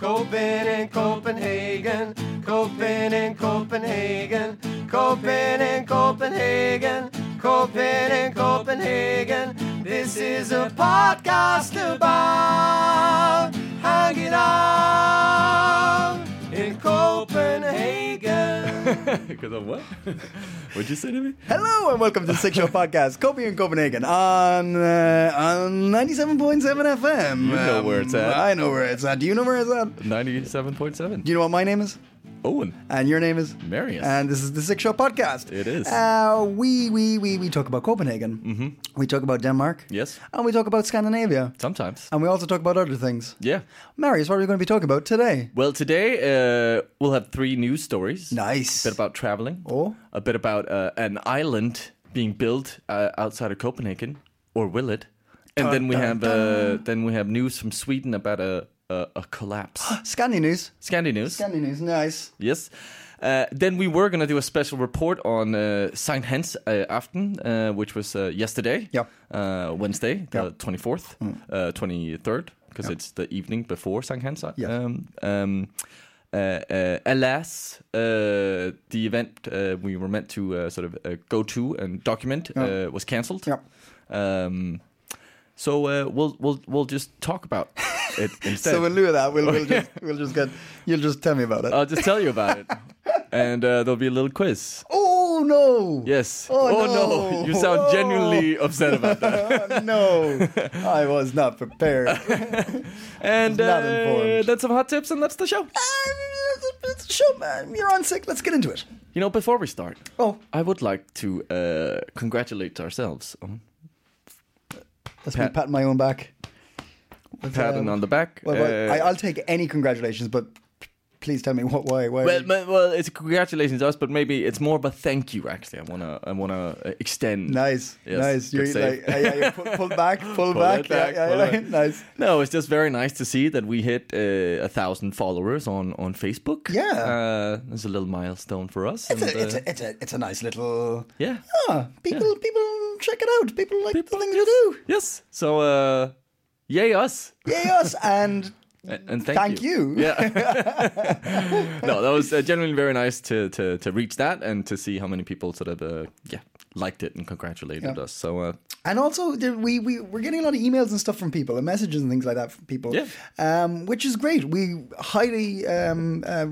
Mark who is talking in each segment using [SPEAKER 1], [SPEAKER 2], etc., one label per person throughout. [SPEAKER 1] Copen in Copenhagen, Copen in Copenhagen, Copen in Copenhagen, Copen in Copenhagen. This is a podcast about hanging out in Copenhagen.
[SPEAKER 2] Because of what? What'd you say to me?
[SPEAKER 3] Hello and welcome to the Six Show Podcast, Kobe in Copenhagen on uh, on ninety seven point seven FM. You
[SPEAKER 2] know where it's at.
[SPEAKER 3] I know where it's at. Do you know where it's at? Do
[SPEAKER 2] 97.7.
[SPEAKER 3] you know what my name is?
[SPEAKER 2] Owen.
[SPEAKER 3] And your name is
[SPEAKER 2] Marius.
[SPEAKER 3] And this is the Six Show Podcast.
[SPEAKER 2] It is.
[SPEAKER 3] Uh, we we we we talk about Copenhagen. Mm-hmm. We talk about Denmark.
[SPEAKER 2] Yes.
[SPEAKER 3] And we talk about Scandinavia.
[SPEAKER 2] Sometimes.
[SPEAKER 3] And we also talk about other things.
[SPEAKER 2] Yeah.
[SPEAKER 3] Marius, what are we going to be talking about today?
[SPEAKER 2] Well, today uh, we'll have three news stories.
[SPEAKER 3] Nice.
[SPEAKER 2] A bit about traveling.
[SPEAKER 3] Oh.
[SPEAKER 2] A bit about uh, an island being built uh, outside of Copenhagen, or will it? And
[SPEAKER 3] Dun,
[SPEAKER 2] then we
[SPEAKER 3] dun,
[SPEAKER 2] have uh, then we have news from Sweden about a a, a collapse.
[SPEAKER 3] Scandi news.
[SPEAKER 2] Scandi news.
[SPEAKER 3] Scandi news. Nice.
[SPEAKER 2] Yes. Uh, then we were going to do a special report on uh, Saint Hans uh, Aften, uh, which was uh, yesterday,
[SPEAKER 3] Yep.
[SPEAKER 2] uh, Wednesday, the
[SPEAKER 3] Yep.
[SPEAKER 2] twenty fourth,
[SPEAKER 3] Mm.
[SPEAKER 2] uh, twenty third, because it's the evening before Saint Hans. uh,
[SPEAKER 3] Yes.
[SPEAKER 2] Um, um, uh, uh, alas, uh, the event uh, we were meant to uh, sort of uh, go to and document uh, was cancelled.
[SPEAKER 3] Yep.
[SPEAKER 2] Um, so uh, we'll we'll we'll just talk about it instead.
[SPEAKER 3] So in lieu of that, we'll, we'll just we'll just get you'll just tell me about it.
[SPEAKER 2] I'll just tell you about it. And uh, there'll be a little quiz.
[SPEAKER 3] oh no.
[SPEAKER 2] Yes.
[SPEAKER 3] Oh,
[SPEAKER 2] no.
[SPEAKER 3] no.
[SPEAKER 2] You sound
[SPEAKER 3] Oh.
[SPEAKER 2] genuinely upset about that.
[SPEAKER 3] Oh, no, I was not prepared.
[SPEAKER 2] And
[SPEAKER 3] Not
[SPEAKER 2] uh,
[SPEAKER 3] informed.
[SPEAKER 2] that's some hot tips, and that's the show.
[SPEAKER 3] Show man, you're on sick. Let's get into it.
[SPEAKER 2] You know, before we start,
[SPEAKER 3] Oh,
[SPEAKER 2] I would like to uh, congratulate ourselves on
[SPEAKER 3] that's
[SPEAKER 2] Pat-
[SPEAKER 3] me patting my own back. um,
[SPEAKER 2] patting on the back.
[SPEAKER 3] Well, well,
[SPEAKER 2] Uh,
[SPEAKER 3] I, I'll take any congratulations, but p- please tell me what, why, why.
[SPEAKER 2] well, ma- well, it's congratulations to us, but maybe it's more of a thank you. Actually, I wanna, I wanna uh, extend.
[SPEAKER 3] nice,
[SPEAKER 2] Yes,
[SPEAKER 3] nice.
[SPEAKER 2] good
[SPEAKER 3] You're
[SPEAKER 2] save.
[SPEAKER 3] like, yeah, yeah, yeah, pull, pull back, pull,
[SPEAKER 2] Pull
[SPEAKER 3] back.
[SPEAKER 2] it back,
[SPEAKER 3] yeah, yeah,
[SPEAKER 2] pull it
[SPEAKER 3] yeah.
[SPEAKER 2] back.
[SPEAKER 3] nice.
[SPEAKER 2] No, it's just very nice to see that we hit uh, a thousand followers on on Facebook.
[SPEAKER 3] Yeah.
[SPEAKER 2] uh, it's a little milestone for us.
[SPEAKER 3] It's
[SPEAKER 2] and,
[SPEAKER 3] a, it's,
[SPEAKER 2] uh,
[SPEAKER 3] a, it's, a, it's a nice little.
[SPEAKER 2] yeah.
[SPEAKER 3] Ah, people, people check it out. People like the thing
[SPEAKER 2] yes.
[SPEAKER 3] to do.
[SPEAKER 2] Yes. So, uh, yay us.
[SPEAKER 3] Yay us and
[SPEAKER 2] A- And thank,
[SPEAKER 3] Thank you.
[SPEAKER 2] Yeah. no, that was uh, genuinely very nice to, to to reach that and to see how many people sort of uh, yeah liked it and congratulated
[SPEAKER 3] Yeah.
[SPEAKER 2] us. So uh,
[SPEAKER 3] And also, there, we, we, we're getting a lot of emails and stuff from people and messages and things like that from people,
[SPEAKER 2] Yeah.
[SPEAKER 3] um, which is great. We highly um, uh,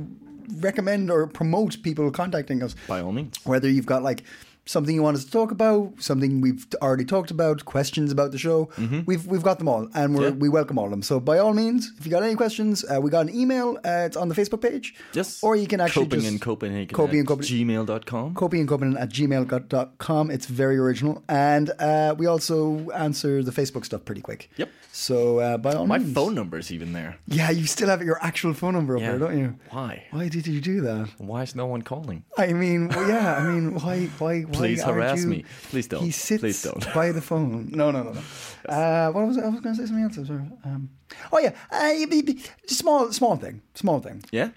[SPEAKER 3] recommend or promote people contacting us,
[SPEAKER 2] by all means,
[SPEAKER 3] whether you've got like something you want us to talk about, something we've already talked about, questions about the show. We've, we've got them all and we're,
[SPEAKER 2] Mm-hmm.
[SPEAKER 3] we
[SPEAKER 2] Yeah.
[SPEAKER 3] welcome all of them. So, by all means, if you got any questions, uh, we got an email. Uh, it's on the Facebook page.
[SPEAKER 2] yes.
[SPEAKER 3] Or you can actually
[SPEAKER 2] coping
[SPEAKER 3] just-
[SPEAKER 2] in Copenhagen.
[SPEAKER 3] Coping in
[SPEAKER 2] at
[SPEAKER 3] Copenhagen.
[SPEAKER 2] Gmail.com.
[SPEAKER 3] Copy and Copenhagen at gmail.com. It's very original. And uh, we also answer the Facebook stuff pretty quick.
[SPEAKER 2] Yep.
[SPEAKER 3] So uh, by all
[SPEAKER 2] My
[SPEAKER 3] means.
[SPEAKER 2] phone number is even there.
[SPEAKER 3] Yeah, you still have your actual phone number up there, don't you?
[SPEAKER 2] Why?
[SPEAKER 3] Why did you do that?
[SPEAKER 2] Why is no one calling?
[SPEAKER 3] I mean, well, yeah, I mean, why, why, why?
[SPEAKER 2] Please
[SPEAKER 3] aren't
[SPEAKER 2] harass
[SPEAKER 3] you-
[SPEAKER 2] me. Please don't.
[SPEAKER 3] He sits
[SPEAKER 2] Please don't.
[SPEAKER 3] by the phone. No, no, no, no. Uh, what was I, I was going to say something else. I'm sorry. Um, oh yeah, uh, it'd be- be- small, small thing, small thing.
[SPEAKER 2] Yeah.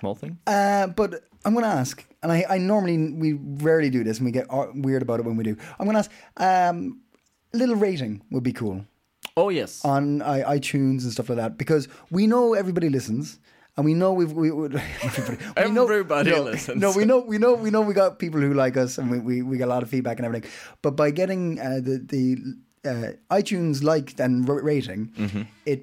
[SPEAKER 2] Small thing.
[SPEAKER 3] Uh, but I'm going to ask, and I, I normally we rarely do this, and we get uh, weird about it when we do. I'm going to ask. Um, little rating would be cool
[SPEAKER 2] Oh yes.
[SPEAKER 3] on I, iTunes and stuff like that because we know everybody listens. And we know we've we, we, everybody, we know-
[SPEAKER 2] Everybody
[SPEAKER 3] no,
[SPEAKER 2] listens.
[SPEAKER 3] No, we know we know we know we got people who like us, and we, we, we got a lot of feedback and everything. But by getting uh, the the uh, iTunes liked and r- rating,
[SPEAKER 2] Mm-hmm.
[SPEAKER 3] it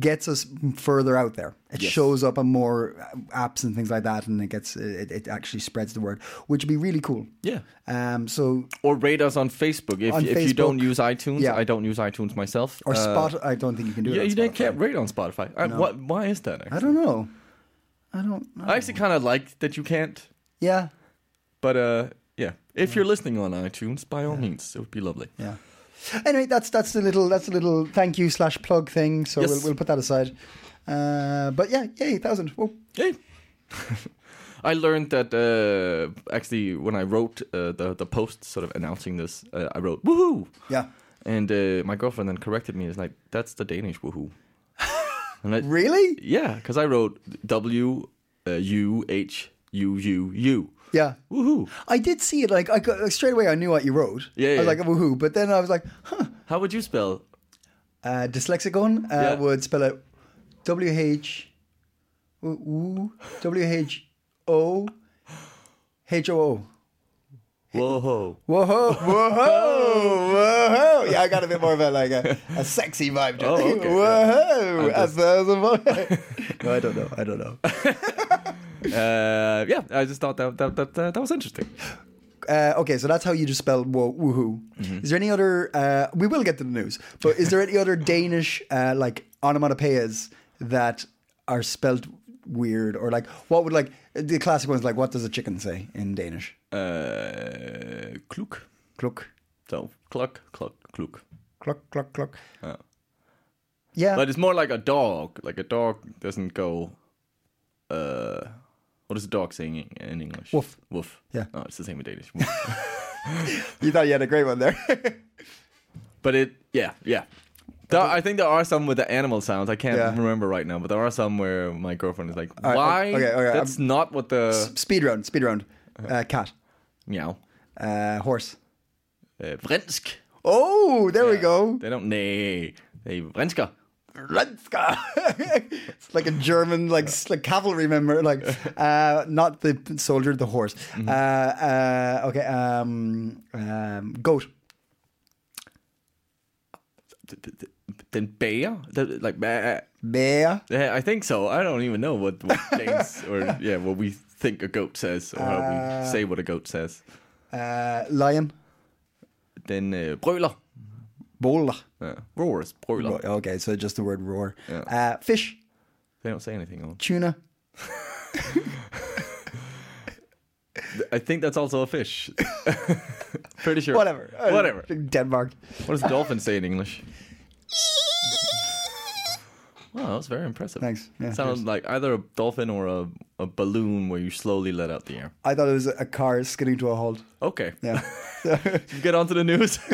[SPEAKER 3] gets us further out there. It shows up on more uh, apps and things like that, and it gets it, it actually spreads the word, which would be really cool.
[SPEAKER 2] yeah.
[SPEAKER 3] Um. So
[SPEAKER 2] Or rate us on Facebook. If,
[SPEAKER 3] On
[SPEAKER 2] if you don't
[SPEAKER 3] Facebook.
[SPEAKER 2] use iTunes,
[SPEAKER 3] Yeah.
[SPEAKER 2] I don't use iTunes myself.
[SPEAKER 3] or
[SPEAKER 2] Uh,
[SPEAKER 3] spot. I don't think you can do
[SPEAKER 2] Yeah,
[SPEAKER 3] it.
[SPEAKER 2] you
[SPEAKER 3] on
[SPEAKER 2] don't-
[SPEAKER 3] Spotify.
[SPEAKER 2] can't rate on Spotify. I, what, why is that?
[SPEAKER 3] I
[SPEAKER 2] Actually?
[SPEAKER 3] don't know. I don't. I,
[SPEAKER 2] I, actually kind of like that you can't.
[SPEAKER 3] yeah.
[SPEAKER 2] But uh, yeah, if you're listening on iTunes, by all means, it would be lovely.
[SPEAKER 3] Yeah. Anyway, that's that's the little that's the little thank you slash plug thing. So
[SPEAKER 2] Yes.
[SPEAKER 3] we'll, we'll put that aside. Uh, but yeah, yay, thousand. Whoa.
[SPEAKER 2] Yay. I learned that uh, actually when I wrote uh, the the post sort of announcing this, uh, I wrote woohoo,
[SPEAKER 3] Yeah.
[SPEAKER 2] and uh, my girlfriend then corrected me. It's like that's the Danish woohoo. And I,
[SPEAKER 3] Really?
[SPEAKER 2] Yeah, because I wrote W uh, U H U U U.
[SPEAKER 3] Yeah.
[SPEAKER 2] Woohoo!
[SPEAKER 3] I did see it. Like I got, straight away, I knew what you wrote.
[SPEAKER 2] Yeah,
[SPEAKER 3] I was
[SPEAKER 2] yeah.
[SPEAKER 3] like woohoo, but then I was like, huh.
[SPEAKER 2] How would you spell?
[SPEAKER 3] Uh, dyslexicon uh,
[SPEAKER 2] Yeah.
[SPEAKER 3] would spell it W H W H O H O O.
[SPEAKER 2] Whoa!
[SPEAKER 3] Whoa, whoa, whoa! Yeah, I got a bit more of a like a, a sexy vibe. To
[SPEAKER 2] Oh,
[SPEAKER 3] it.
[SPEAKER 2] okay,
[SPEAKER 3] Whoa, a thousand more. No, I don't know. I don't know.
[SPEAKER 2] Uh, yeah, I just thought that that that, that, that was interesting.
[SPEAKER 3] Uh, okay, so that's how you just spell whoa, woohoo. Is there any other? Uh, we will get to the news, but is there any other Danish uh, like onomatopoeias that are spelled weird or like what would like the classic ones like what does a chicken say in Danish?
[SPEAKER 2] Uh, kluk.
[SPEAKER 3] Cluck,
[SPEAKER 2] So cluck, cluck, kluk.
[SPEAKER 3] cluck, cluck, cluck.
[SPEAKER 2] Yeah.
[SPEAKER 3] Yeah,
[SPEAKER 2] But it's more like a dog. Like a dog doesn't go. Uh, what is a dog saying in- in English?
[SPEAKER 3] Woof.
[SPEAKER 2] Woof.
[SPEAKER 3] Yeah.
[SPEAKER 2] Oh, it's the same in Danish. Woof.
[SPEAKER 3] you thought you had a great one there.
[SPEAKER 2] but it, yeah, yeah. There, I think there are some with the animal sounds. I can't
[SPEAKER 3] Yeah.
[SPEAKER 2] remember right now, but there are some where my girlfriend is like,
[SPEAKER 3] right,
[SPEAKER 2] "Why?
[SPEAKER 3] okay, okay,
[SPEAKER 2] That's not what the
[SPEAKER 3] speed round, speed round. Uh, cat,
[SPEAKER 2] meow."
[SPEAKER 3] uh, horse.
[SPEAKER 2] Uh, vrensk.
[SPEAKER 3] Oh, there we go.
[SPEAKER 2] They don't. Nay. They vrensker.
[SPEAKER 3] Renska. it's like a German, like, s- like cavalry member, like uh, not the soldier, the horse. Uh, uh, okay, um, um, goat.
[SPEAKER 2] Then bear. The- Like bah.
[SPEAKER 3] Bear.
[SPEAKER 2] Yeah, I think so. I don't even know what, what Danes or yeah what we think a goat says or how we say what a goat says.
[SPEAKER 3] Uh, lion.
[SPEAKER 2] Then uh, brøler.
[SPEAKER 3] Bola.
[SPEAKER 2] Uh, roars. Brøler.
[SPEAKER 3] Okay, so just the word roar.
[SPEAKER 2] Yeah.
[SPEAKER 3] Uh, fish.
[SPEAKER 2] They don't say anything. Else.
[SPEAKER 3] Tuna.
[SPEAKER 2] I think that's also a fish. Pretty sure.
[SPEAKER 3] Whatever. Uh,
[SPEAKER 2] Whatever.
[SPEAKER 3] Denmark.
[SPEAKER 2] What does dolphin say in English? Wow, that was very impressive.
[SPEAKER 3] Thanks. Yeah,
[SPEAKER 2] Sounds like either a dolphin or a, a balloon where you slowly let out the air.
[SPEAKER 3] I thought it was a car skidding to a halt.
[SPEAKER 2] Okay.
[SPEAKER 3] Yeah.
[SPEAKER 2] get onto the news.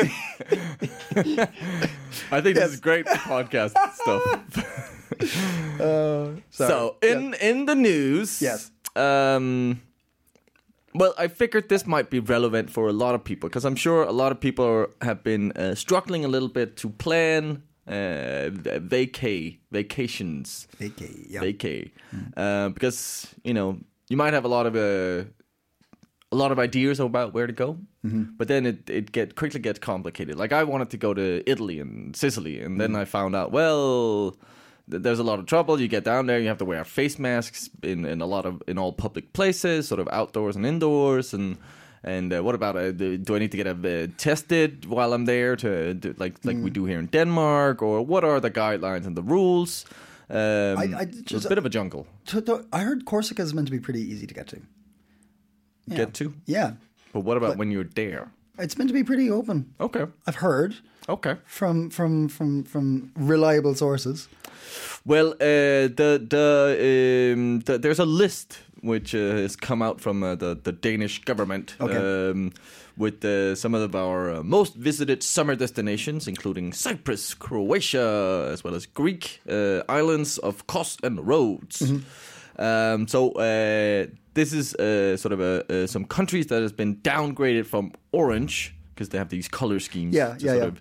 [SPEAKER 2] I think this is great podcast stuff.
[SPEAKER 3] Uh, Sorry.
[SPEAKER 2] So in in the news,
[SPEAKER 3] Yes.
[SPEAKER 2] Um, well, I figured this might be relevant for a lot of people because I'm sure a lot of people are, have been uh, struggling a little bit to plan uh, vacay vacations.
[SPEAKER 3] Vicky, yeah.
[SPEAKER 2] vacay uh, because you know you might have a lot of uh, a lot of ideas about where to go
[SPEAKER 3] Mm-hmm.
[SPEAKER 2] but then it, it get quickly gets complicated like i wanted to go to italy and sicily and then
[SPEAKER 3] Mm-hmm.
[SPEAKER 2] i found out well th- there's a lot of trouble you get down there you have to wear face masks in, in a lot of in all public places sort of outdoors and indoors and and uh, what about uh, do do I need to get uh, tested while I'm there to do, like like
[SPEAKER 3] Mm.
[SPEAKER 2] we do here in Denmark or what are the guidelines and the rules? Um,
[SPEAKER 3] I- I
[SPEAKER 2] it's
[SPEAKER 3] just-
[SPEAKER 2] a bit of a jungle.
[SPEAKER 3] To- to- I heard Corsica is meant to be pretty easy to get to.
[SPEAKER 2] Get to,
[SPEAKER 3] Yeah.
[SPEAKER 2] but what about when you're there?
[SPEAKER 3] It's meant to be pretty open.
[SPEAKER 2] Okay,
[SPEAKER 3] I've heard
[SPEAKER 2] okay.
[SPEAKER 3] from from from from reliable sources.
[SPEAKER 2] Well, uh, the the, um, the there's a list which uh, has come out from uh, the the Danish government
[SPEAKER 3] Okay.
[SPEAKER 2] um, with uh, some of our uh, most visited summer destinations, including Cyprus, Croatia, as well as Greek uh, islands of Kos and Rhodes.
[SPEAKER 3] Mm-hmm.
[SPEAKER 2] Um, so uh, this is uh, sort of a, uh, some countries that has been downgraded from orange because they have these color schemes
[SPEAKER 3] Yeah,
[SPEAKER 2] to
[SPEAKER 3] yeah,
[SPEAKER 2] sort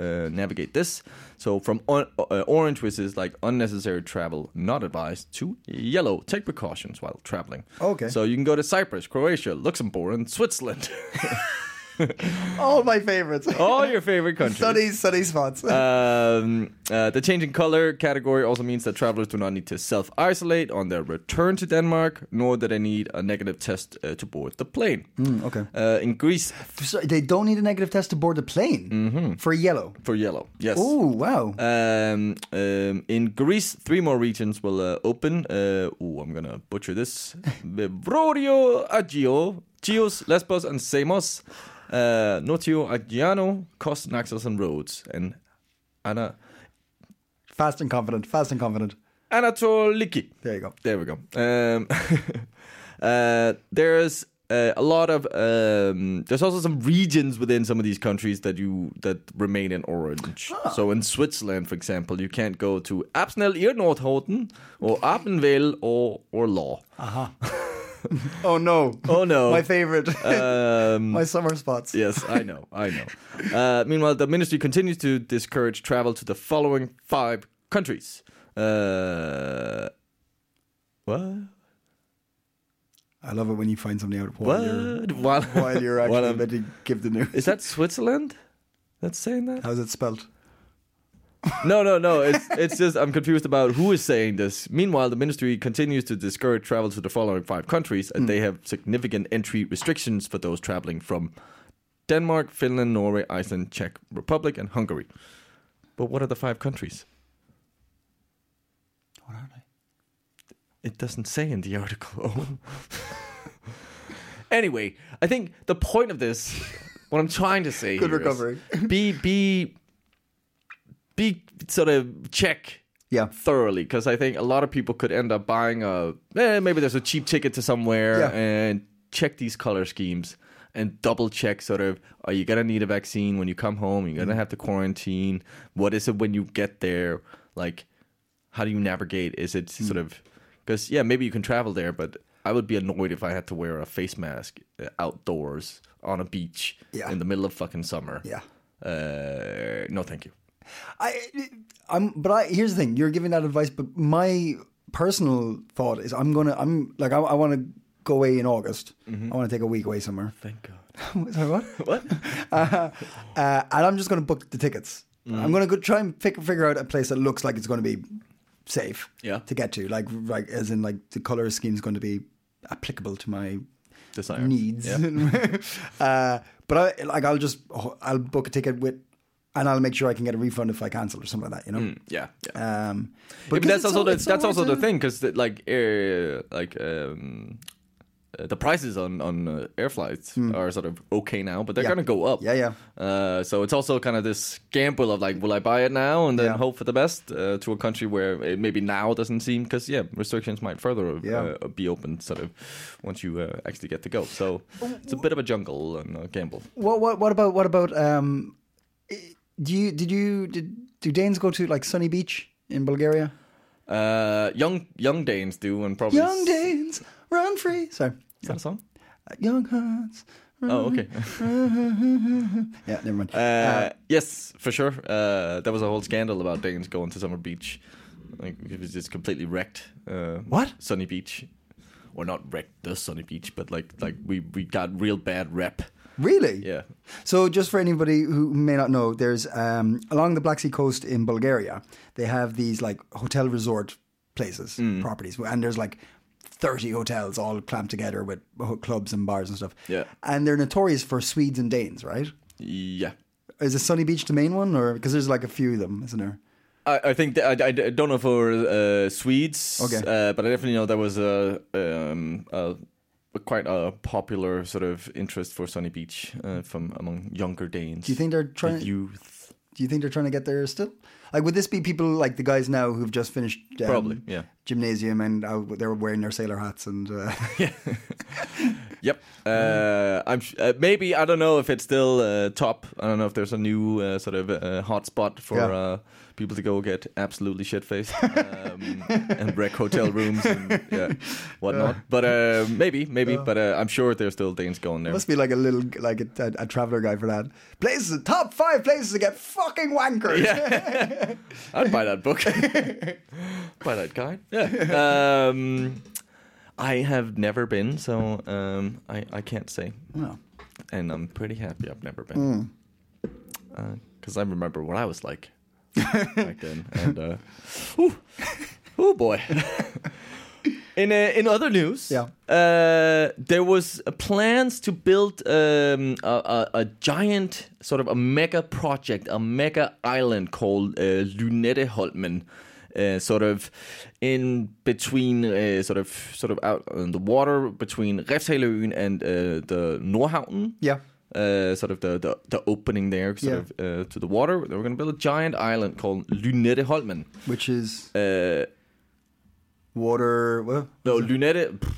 [SPEAKER 3] yeah.
[SPEAKER 2] of uh, navigate this. So from on, uh, orange, which is like unnecessary travel not advised, to yellow, take precautions while traveling.
[SPEAKER 3] Okay.
[SPEAKER 2] So you can go to Cyprus, Croatia, Luxembourg, and Switzerland.
[SPEAKER 3] All my favorites.
[SPEAKER 2] All your favorite countries. Uh,
[SPEAKER 3] sunny sunny spots.
[SPEAKER 2] Um, uh, the change in color category also means that travelers do not need to self isolate on their return to Denmark, nor do they need a negative test uh, to board the plane.
[SPEAKER 3] okay.
[SPEAKER 2] Uh, in Greece,
[SPEAKER 3] So they don't need a negative test to board the plane
[SPEAKER 2] Mm-hmm.
[SPEAKER 3] for yellow.
[SPEAKER 2] for yellow. Yes.
[SPEAKER 3] Oh wow.
[SPEAKER 2] Um, um, in Greece, three more regions will uh, open. Uh, ooh, I'm gonna butcher this. Vibrorio Agio, Chios, Lesbos, and Samos, uh, Notio, Agiano, Kos, Naxos, and Rhodes, and Ana
[SPEAKER 3] Fast and confident. Fast and confident.
[SPEAKER 2] Anatoliki.
[SPEAKER 3] There you go.
[SPEAKER 2] There we go. Um, uh, there's uh, a lot of um, there's also some regions within some of these countries that you that remain in orange.
[SPEAKER 3] Ah.
[SPEAKER 2] So in Switzerland, for example, you can't go to Absnell, Irnordhoten, or Appenwell, or or Law.
[SPEAKER 3] Ah, Oh no.
[SPEAKER 2] Oh no.
[SPEAKER 3] My favorite.
[SPEAKER 2] Um,
[SPEAKER 3] My summer spots.
[SPEAKER 2] yes, I know, I know. Uh, meanwhile, the ministry continues to discourage travel to the following five countries. Uh, what?
[SPEAKER 3] I love it when you find something out while you're
[SPEAKER 2] What? While,
[SPEAKER 3] while you're
[SPEAKER 2] while
[SPEAKER 3] actually
[SPEAKER 2] I'm-
[SPEAKER 3] about to give the news.
[SPEAKER 2] is that Switzerland? That's saying that?
[SPEAKER 3] How's it spelled?
[SPEAKER 2] No, no, no. It's it's just I'm confused about who is saying this. Meanwhile, the ministry continues to discourage travel to the following five countries,
[SPEAKER 3] Hmm.
[SPEAKER 2] and they have significant entry restrictions for those traveling from Denmark, Finland, Norway, Iceland, Czech Republic, and Hungary. But what are the five countries?
[SPEAKER 3] What are they?
[SPEAKER 2] It doesn't say in the article. anyway, I think the point of this, what I'm trying to say,
[SPEAKER 3] Good
[SPEAKER 2] here is
[SPEAKER 3] recovery.
[SPEAKER 2] be be be sort of check
[SPEAKER 3] Yeah.
[SPEAKER 2] thoroughly because I think a lot of people could end up buying a eh, maybe there's a cheap ticket to somewhere
[SPEAKER 3] Yeah.
[SPEAKER 2] and check these color schemes and double check sort of are you gonna need a vaccine when you come home? You're gonna
[SPEAKER 3] Mm-hmm.
[SPEAKER 2] have to quarantine. What is it when you get there? Like, how do you navigate? Is it sort
[SPEAKER 3] Mm.
[SPEAKER 2] of because yeah, maybe you can travel there, but I would be annoyed if I had to wear a face mask uh, outdoors on a beach
[SPEAKER 3] Yeah.
[SPEAKER 2] in the middle of fucking summer.
[SPEAKER 3] Yeah.
[SPEAKER 2] Uh, no, thank you.
[SPEAKER 3] I, I'm, but I, here's the thing: you're giving that advice, but my personal thought is, I'm gonna, I'm like, I, I want to go away in August. I want to take a week away somewhere.
[SPEAKER 2] Thank God.
[SPEAKER 3] Mm-hmm. Sorry, what?
[SPEAKER 2] What?
[SPEAKER 3] uh, uh, and I'm just gonna book the tickets. I'm gonna go try and pick, figure out a place that looks like it's gonna be safe.
[SPEAKER 2] Yeah.
[SPEAKER 3] To get to, like, like as in, like the color scheme is going to be applicable to my
[SPEAKER 2] Desire.
[SPEAKER 3] needs.
[SPEAKER 2] Yeah.
[SPEAKER 3] uh, but I like I'll just I'll book a ticket with, and I'll make sure I can get a refund if I cancel or something like that. You know.
[SPEAKER 2] Yeah, yeah.
[SPEAKER 3] Um,
[SPEAKER 2] Yeah, Hmm. but
[SPEAKER 3] because it's
[SPEAKER 2] that's also
[SPEAKER 3] so-
[SPEAKER 2] the,
[SPEAKER 3] it's so
[SPEAKER 2] that's
[SPEAKER 3] hard
[SPEAKER 2] also the
[SPEAKER 3] to-
[SPEAKER 2] thing because like air like um, uh, the prices on on uh, air flights are sort of okay now, but they're
[SPEAKER 3] Hmm. Yeah.
[SPEAKER 2] gonna go up.
[SPEAKER 3] Yeah, yeah.
[SPEAKER 2] Uh, so it's also kind of this gamble of like, will I buy it now and then
[SPEAKER 3] Yeah.
[SPEAKER 2] hope for the best uh, to a country where it maybe now doesn't seem because yeah, restrictions might further
[SPEAKER 3] Yeah.
[SPEAKER 2] uh, be opened sort of once you uh, actually get to go. So it's a bit of a jungle and a gamble.
[SPEAKER 3] What what what about what about um? i- Do you did you did do Danes go to like Sunny Beach in Bulgaria?
[SPEAKER 2] Uh, young young Danes do and probably
[SPEAKER 3] Young Danes run free. Sorry,
[SPEAKER 2] Is that a song?
[SPEAKER 3] Uh, young hearts.
[SPEAKER 2] Oh, okay.
[SPEAKER 3] Yeah, never mind.
[SPEAKER 2] Uh, yes, for sure. Uh, there was a whole scandal about Danes going to summer beach. Like it was just completely wrecked. Uh,
[SPEAKER 3] What?
[SPEAKER 2] Sunny beach, or not wrecked the sunny beach, but like like we we got real bad rep.
[SPEAKER 3] really?
[SPEAKER 2] Yeah.
[SPEAKER 3] So, just for anybody who may not know, there's um, along the Black Sea coast in Bulgaria, they have these like hotel resort places,
[SPEAKER 2] Mm.
[SPEAKER 3] properties, and there's like 30 hotels all clamped together with ho- clubs and bars and stuff.
[SPEAKER 2] Yeah.
[SPEAKER 3] And they're notorious for Swedes and Danes, right?
[SPEAKER 2] Yeah.
[SPEAKER 3] Is the Sunny Beach the main one, or because there's like a few of them, isn't there?
[SPEAKER 2] I, I think that, I, I don't know for uh, Swedes,
[SPEAKER 3] Okay.
[SPEAKER 2] uh, but I definitely know there was a, um, a quite a popular sort of interest for sunny beach uh, from among younger Danes.
[SPEAKER 3] Do you think they're
[SPEAKER 2] The
[SPEAKER 3] trying?
[SPEAKER 2] youth?
[SPEAKER 3] do you think they're trying to get there still? Like, would this be people like the guys now who've just finished um,
[SPEAKER 2] Probably, yeah.
[SPEAKER 3] gymnasium and uh, they're wearing their sailor hats and uh,
[SPEAKER 2] Yep. Uh, I'm sh- uh, maybe I don't know if it's still uh, top. I don't know if there's a new uh, sort of uh, hotspot for
[SPEAKER 3] Yeah.
[SPEAKER 2] uh, people to go get absolutely shit faced um, and wreck hotel rooms and yeah, whatnot. But uh, maybe, maybe. but uh, I'm sure there's still Danes going there.
[SPEAKER 3] must be like a little like a, a, a traveler guy for that. Places, top five places to get fucking wankered.
[SPEAKER 2] I'd buy that book. buy that guide. Yeah. Um, I have never been, so um, I I can't say.
[SPEAKER 3] No.
[SPEAKER 2] and I'm pretty happy I've never been. Because I remember what I was like back then. And, uh, oh boy. in, uh, in other news,
[SPEAKER 3] Yeah.
[SPEAKER 2] uh, there was plans to build um, a, a, a giant, sort of a mega project, a mega island called uh, Luneteholmen. uh, sort of in between, uh, sort of sort of out on the water between Refshaløen and uh, the Nordhavn.
[SPEAKER 3] Yeah.
[SPEAKER 2] Uh, sort of the, the the opening there, sort
[SPEAKER 3] Yeah.
[SPEAKER 2] of uh, to the water. They were going to build a giant island called Lynetteholmen.
[SPEAKER 3] Which is
[SPEAKER 2] Uh,
[SPEAKER 3] water. Well,
[SPEAKER 2] No, Lunette. pff,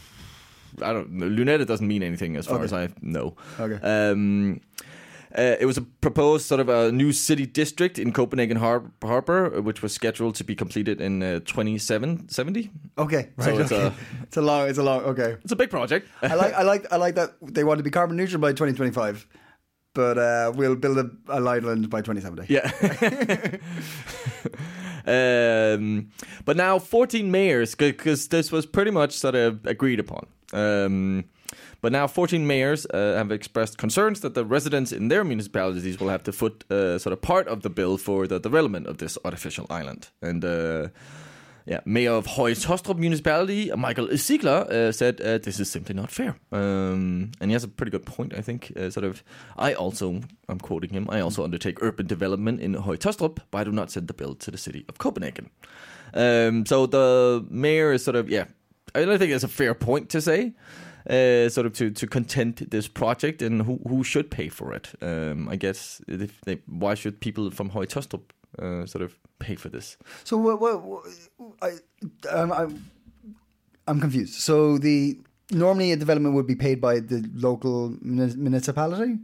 [SPEAKER 2] I don't. know. Lunette doesn't mean anything as far
[SPEAKER 3] Okay.
[SPEAKER 2] as I know.
[SPEAKER 3] Okay.
[SPEAKER 2] Um, uh, it was a proposed sort of a new city district in Copenhagen Har- Harbor, which was scheduled to be completed in uh, 2770.
[SPEAKER 3] okay. Right,
[SPEAKER 2] it's
[SPEAKER 3] okay.
[SPEAKER 2] a-
[SPEAKER 3] it's a long. It's a long. Okay.
[SPEAKER 2] It's a big project.
[SPEAKER 3] I like. I like. I like that they want to be carbon neutral by 2025, but uh, we'll build a, a island by 2070.
[SPEAKER 2] Yeah. um, but now 14 mayors, because this was pretty much sort of agreed upon. Um, but now 14 mayors uh, have expressed concerns that the residents in their municipalities will have to foot uh, sort of part of the bill for the development of this artificial island. And uh, yeah, Mayor of Hoyes Hostrup Municipality, Michael Ziegler, uh, said uh, this is simply not fair. Um, and he has a pretty good point, I think. Uh, sort of, I also, I'm quoting him, I also undertake urban development in Hoyes Hostrup, but I do not send the bill to the city of Copenhagen. Um, so the mayor is sort of, yeah, I don't think that's a fair point to say. Uh, sort of to to contend this project and who who should pay for it. Um, I guess if they, why should people from Høje Tostrup uh, sort of pay for this?
[SPEAKER 3] So what? What? what I, um, I'm, I'm confused. So the normally a development would be paid by the local muni- municipality.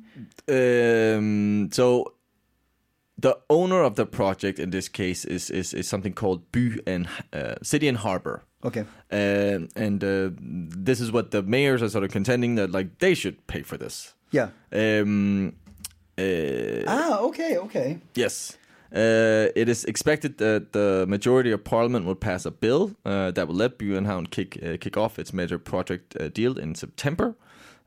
[SPEAKER 2] Um, so the owner of the project in this case is is, is something called By and uh, City and Harbor.
[SPEAKER 3] Okay.
[SPEAKER 2] Um and uh, this is what the mayors are sort of contending that like they should pay for this.
[SPEAKER 3] Yeah.
[SPEAKER 2] Um, uh,
[SPEAKER 3] Ah. Okay. Okay.
[SPEAKER 2] Yes. Uh, it is expected that the majority of parliament will pass a bill uh, that will let Buenhound kick uh, kick off its major project uh, deal in September.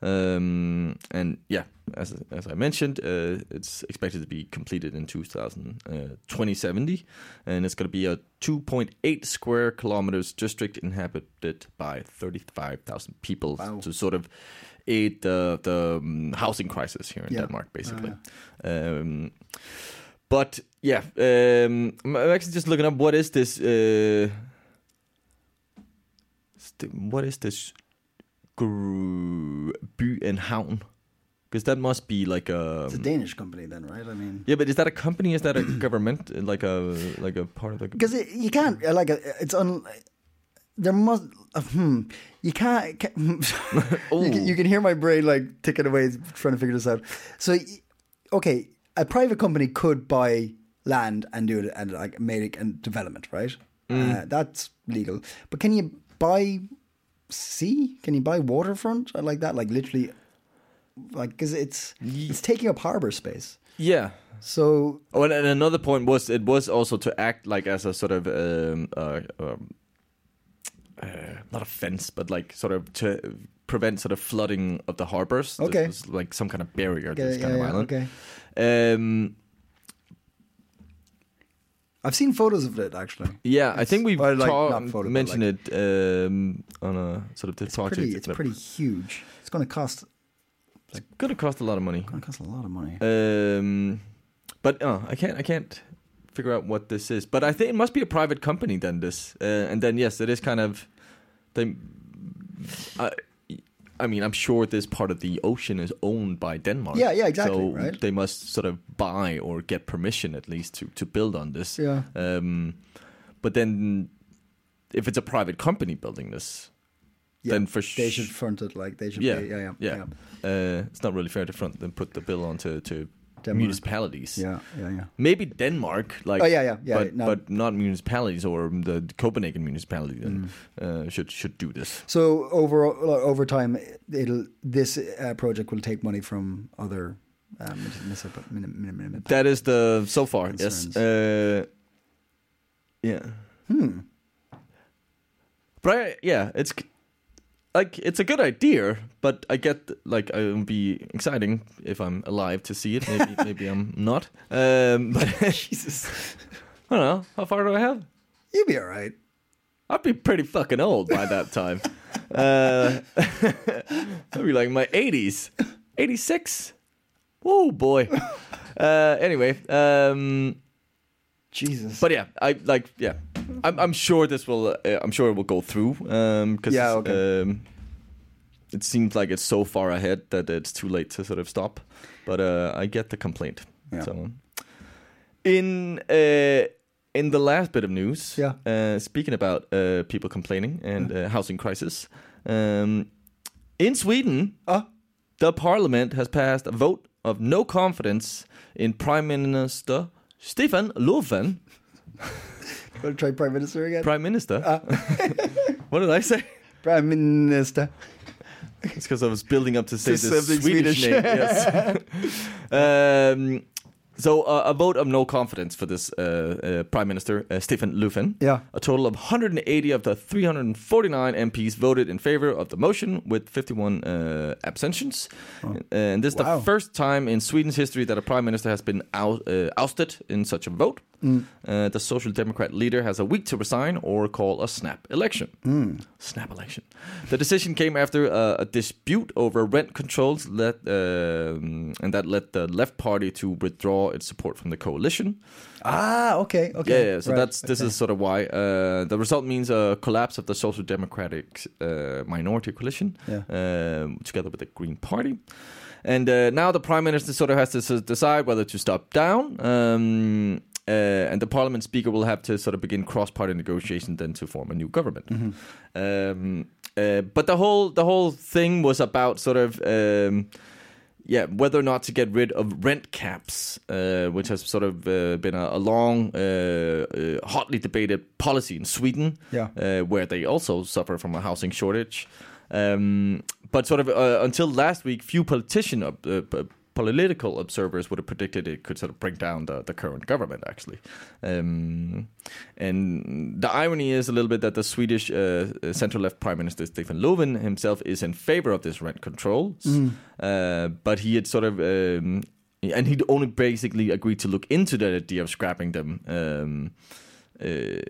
[SPEAKER 2] Um, and yeah, as as I mentioned, uh, it's expected to be completed in 2000, uh, 2070, and it's going to be a 2.8 square kilometers district inhabited by 35,000 people
[SPEAKER 3] Wow.
[SPEAKER 2] to sort of aid the the um, housing crisis here in
[SPEAKER 3] Yeah.
[SPEAKER 2] Denmark, basically. Um, but yeah, um, I'm I'm actually just looking up what is this. Uh, st- what is this? Gru- By and Havn, because that must be like a.
[SPEAKER 3] It's a Danish company then, right? I mean.
[SPEAKER 2] Yeah, but is that a company? Is that a government? Like a like a part of the.
[SPEAKER 3] because it, you can't uh, like uh, it's un. There must uh, hmm. You can't. ca- you, can, you can hear my brain like ticking away, trying to figure this out. So, y- okay, a private company could buy land and do it and like make it and development, right? Uh, that's legal. But can you buy sea? Can you buy waterfront Uh, like that? Like literally, like because it's it's taking up harbor space.
[SPEAKER 2] Yeah.
[SPEAKER 3] So
[SPEAKER 2] Oh, and, and another point was it was also to act like as a sort of um, uh, um, uh, not a fence, but like sort of to prevent sort of flooding of the harbors. This
[SPEAKER 3] Okay.
[SPEAKER 2] was like some kind of barrier. to
[SPEAKER 3] yeah,
[SPEAKER 2] this kind
[SPEAKER 3] yeah,
[SPEAKER 2] of
[SPEAKER 3] yeah,
[SPEAKER 2] island.
[SPEAKER 3] okay.
[SPEAKER 2] Um,
[SPEAKER 3] I've seen photos of it actually.
[SPEAKER 2] yeah, I think we've
[SPEAKER 3] well, like,
[SPEAKER 2] ta-
[SPEAKER 3] not photo, but
[SPEAKER 2] mentioned it um, on a sort of the project.
[SPEAKER 3] pretty, it's pretty huge. It's going to cost
[SPEAKER 2] It's gonna cost a lot of money.
[SPEAKER 3] going to cost a lot of money.
[SPEAKER 2] Um, but uh, I can't I can't figure out what this is. But I think it must be a private company then this. Uh, and then yes, it is kind of they. I, I mean, I'm sure this part of the ocean is owned by Denmark.
[SPEAKER 3] Yeah, yeah, exactly,
[SPEAKER 2] So
[SPEAKER 3] right?
[SPEAKER 2] they must sort of buy or get permission at least to to build on this.
[SPEAKER 3] Yeah.
[SPEAKER 2] Um, but then, if it's a private company building this,
[SPEAKER 3] Yeah,
[SPEAKER 2] then for
[SPEAKER 3] they
[SPEAKER 2] sh-
[SPEAKER 3] should front it like they should.
[SPEAKER 2] yeah,
[SPEAKER 3] pay- yeah, yeah, yeah,
[SPEAKER 2] Uh, it's not really fair to front them put the bill onto to
[SPEAKER 3] Denmark.
[SPEAKER 2] municipalities.
[SPEAKER 3] yeah, yeah, yeah.
[SPEAKER 2] Maybe Denmark, like
[SPEAKER 3] Oh, yeah, yeah, yeah,
[SPEAKER 2] but,
[SPEAKER 3] no.
[SPEAKER 2] but not municipalities or the Copenhagen municipality then,
[SPEAKER 3] Mm.
[SPEAKER 2] uh, should should do this.
[SPEAKER 3] So over uh, over time, it'll this uh, project will take money from other. Um, municip- mini- mini- mini-
[SPEAKER 2] That is the so far yes,
[SPEAKER 3] Concerns.
[SPEAKER 2] uh, yeah.
[SPEAKER 3] hmm.
[SPEAKER 2] But I, yeah, it's c- like it's a good idea, but I get like it would be exciting if I'm alive to see it. Maybe maybe I'm not. Um, but
[SPEAKER 3] Jesus,
[SPEAKER 2] I don't know how far do I have.
[SPEAKER 3] you'll be all right.
[SPEAKER 2] I'd be pretty fucking old by that time. uh, I'd be like in my 80s, 86. Oh boy. Uh, anyway, um,
[SPEAKER 3] Jesus,
[SPEAKER 2] but yeah, I like yeah.
[SPEAKER 3] Copenhagen.
[SPEAKER 2] I'm, I'm sure this will. Uh, I'm sure it will go through. Um, cause,
[SPEAKER 3] Yeah, okay.
[SPEAKER 2] Um, it seems like it's so far ahead that it's too late to sort of stop. But uh, I get the complaint.
[SPEAKER 3] Yeah.
[SPEAKER 2] So, in uh, in the last bit of news,
[SPEAKER 3] Yeah.
[SPEAKER 2] uh, speaking about uh, people complaining and uh, housing crisis, um, in Sweden,
[SPEAKER 3] Ah.
[SPEAKER 2] the parliament has passed a vote of no confidence in Prime Minister Stefan Löfven.
[SPEAKER 3] Wanna try prime minister again.
[SPEAKER 2] Prime Minister. what did I say?
[SPEAKER 3] prime minister.
[SPEAKER 2] It's because I was building up to say
[SPEAKER 3] To
[SPEAKER 2] this
[SPEAKER 3] something
[SPEAKER 2] Swedish,
[SPEAKER 3] Swedish.
[SPEAKER 2] name. Yes. um, so uh, a vote of no confidence for this uh, uh, Prime Minister uh, Stefan Löfven.
[SPEAKER 3] Yeah.
[SPEAKER 2] A total of 180 of the 349 MPs voted in favor of the motion, with 51 uh, abstentions. And this is
[SPEAKER 3] Wow.
[SPEAKER 2] the first time in Sweden's history that a prime minister has been ou- uh, ousted in such a vote. Uh, the Social Democrat leader has a week to resign or call a snap election. Snap election. The decision came after uh, a dispute over rent controls, led, um and that led the left party to withdraw its support from the coalition.
[SPEAKER 3] Ah, okay, okay.
[SPEAKER 2] Yeah, yeah. So
[SPEAKER 3] right,
[SPEAKER 2] that's this
[SPEAKER 3] okay.
[SPEAKER 2] is sort of why uh, the result means a collapse of the social democratic uh, minority coalition,
[SPEAKER 3] Yeah.
[SPEAKER 2] um, together with the Green Party, and uh, now the prime minister sort of has to s- decide whether to step down. Um, uh, and the parliament speaker will have to sort of begin cross-party negotiation then to form a new government. Um, uh, but the whole the whole thing was about sort of um, yeah, whether or not to get rid of rent caps, uh, which has sort of uh, been a, a long, uh, uh, hotly debated policy in Sweden,
[SPEAKER 3] Yeah.
[SPEAKER 2] uh, where they also suffer from a housing shortage. Um, but sort of uh, until last week, few politician ob- uh, p- political observers would have predicted it could sort of bring down the, the current government actually. Um, and the irony is a little bit that the Swedish uh, central left prime minister Stefan Löfven himself is in favor of this rent controls, uh, but he had sort of. Um, and he'd only basically agreed to look into the idea of scrapping them um, uh,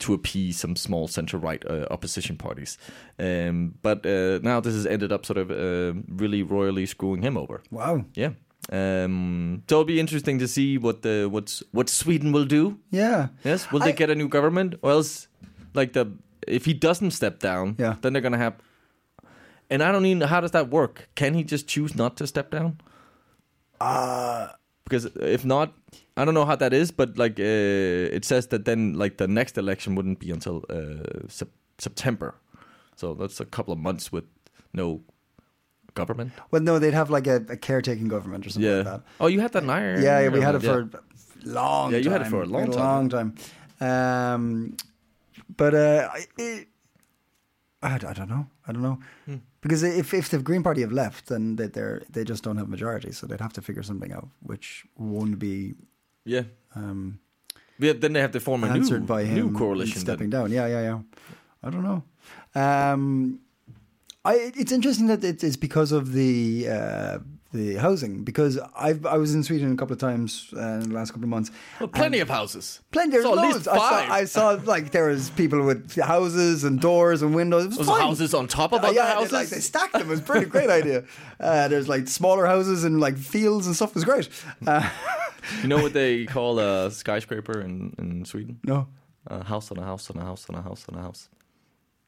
[SPEAKER 2] to appease some small center right uh, opposition parties. Um, but uh, now this has ended up sort of uh, really royally screwing him over.
[SPEAKER 3] wow.
[SPEAKER 2] Yeah. Um, so it'll be interesting to see what the what's what Sweden will do.
[SPEAKER 3] Yeah.
[SPEAKER 2] Yes, will they
[SPEAKER 3] I-
[SPEAKER 2] get a new government, or else, like the if he doesn't step down,
[SPEAKER 3] Yeah.
[SPEAKER 2] then they're gonna have. And I don't even how does that work? Can he just choose not to step down?
[SPEAKER 3] Uh,
[SPEAKER 2] Because if not, I don't know how that is, but like uh, it says that then like the next election wouldn't be until uh, sep- September, so that's a couple of months with no government.
[SPEAKER 3] well, no, they'd have like a, a caretaking government or something
[SPEAKER 2] yeah.
[SPEAKER 3] like that.
[SPEAKER 2] Oh, you had that in Ireland.
[SPEAKER 3] Yeah, yeah, we had it
[SPEAKER 2] Yeah.
[SPEAKER 3] for a long.
[SPEAKER 2] Yeah, you
[SPEAKER 3] time.
[SPEAKER 2] had it for a
[SPEAKER 3] We
[SPEAKER 2] long
[SPEAKER 3] had
[SPEAKER 2] time.
[SPEAKER 3] long time. Um, but uh, I, it, I, d- I don't know. I don't know
[SPEAKER 2] Hmm.
[SPEAKER 3] because if if the Green Party have left, then they they're, they just don't have majority, so they'd have to figure something out, which won't be
[SPEAKER 2] Yeah.
[SPEAKER 3] um,
[SPEAKER 2] Yeah, then they have to form a
[SPEAKER 3] answered
[SPEAKER 2] new,
[SPEAKER 3] by him
[SPEAKER 2] new coalition. then.
[SPEAKER 3] stepping down. Yeah, yeah, yeah. I don't know. Um, I it's interesting that it is because of the uh, the housing because I've I was in Sweden a couple of times uh, in the last couple of months.
[SPEAKER 2] Well, plenty of houses.
[SPEAKER 3] Plenty of
[SPEAKER 2] So at
[SPEAKER 3] loads.
[SPEAKER 2] least five.
[SPEAKER 3] I saw, I saw like there was people with houses and doors and windows. It was,
[SPEAKER 2] Those
[SPEAKER 3] fine.
[SPEAKER 2] houses on top of
[SPEAKER 3] Uh,
[SPEAKER 2] other
[SPEAKER 3] yeah,
[SPEAKER 2] houses.
[SPEAKER 3] They, like, they stacked them. It was a pretty great idea. Uh, there's like smaller houses and like fields and stuff. It was great. Uh,
[SPEAKER 2] you know what they call a skyscraper in, in Sweden?
[SPEAKER 3] no,
[SPEAKER 2] A house on a house on a house on a house on a house.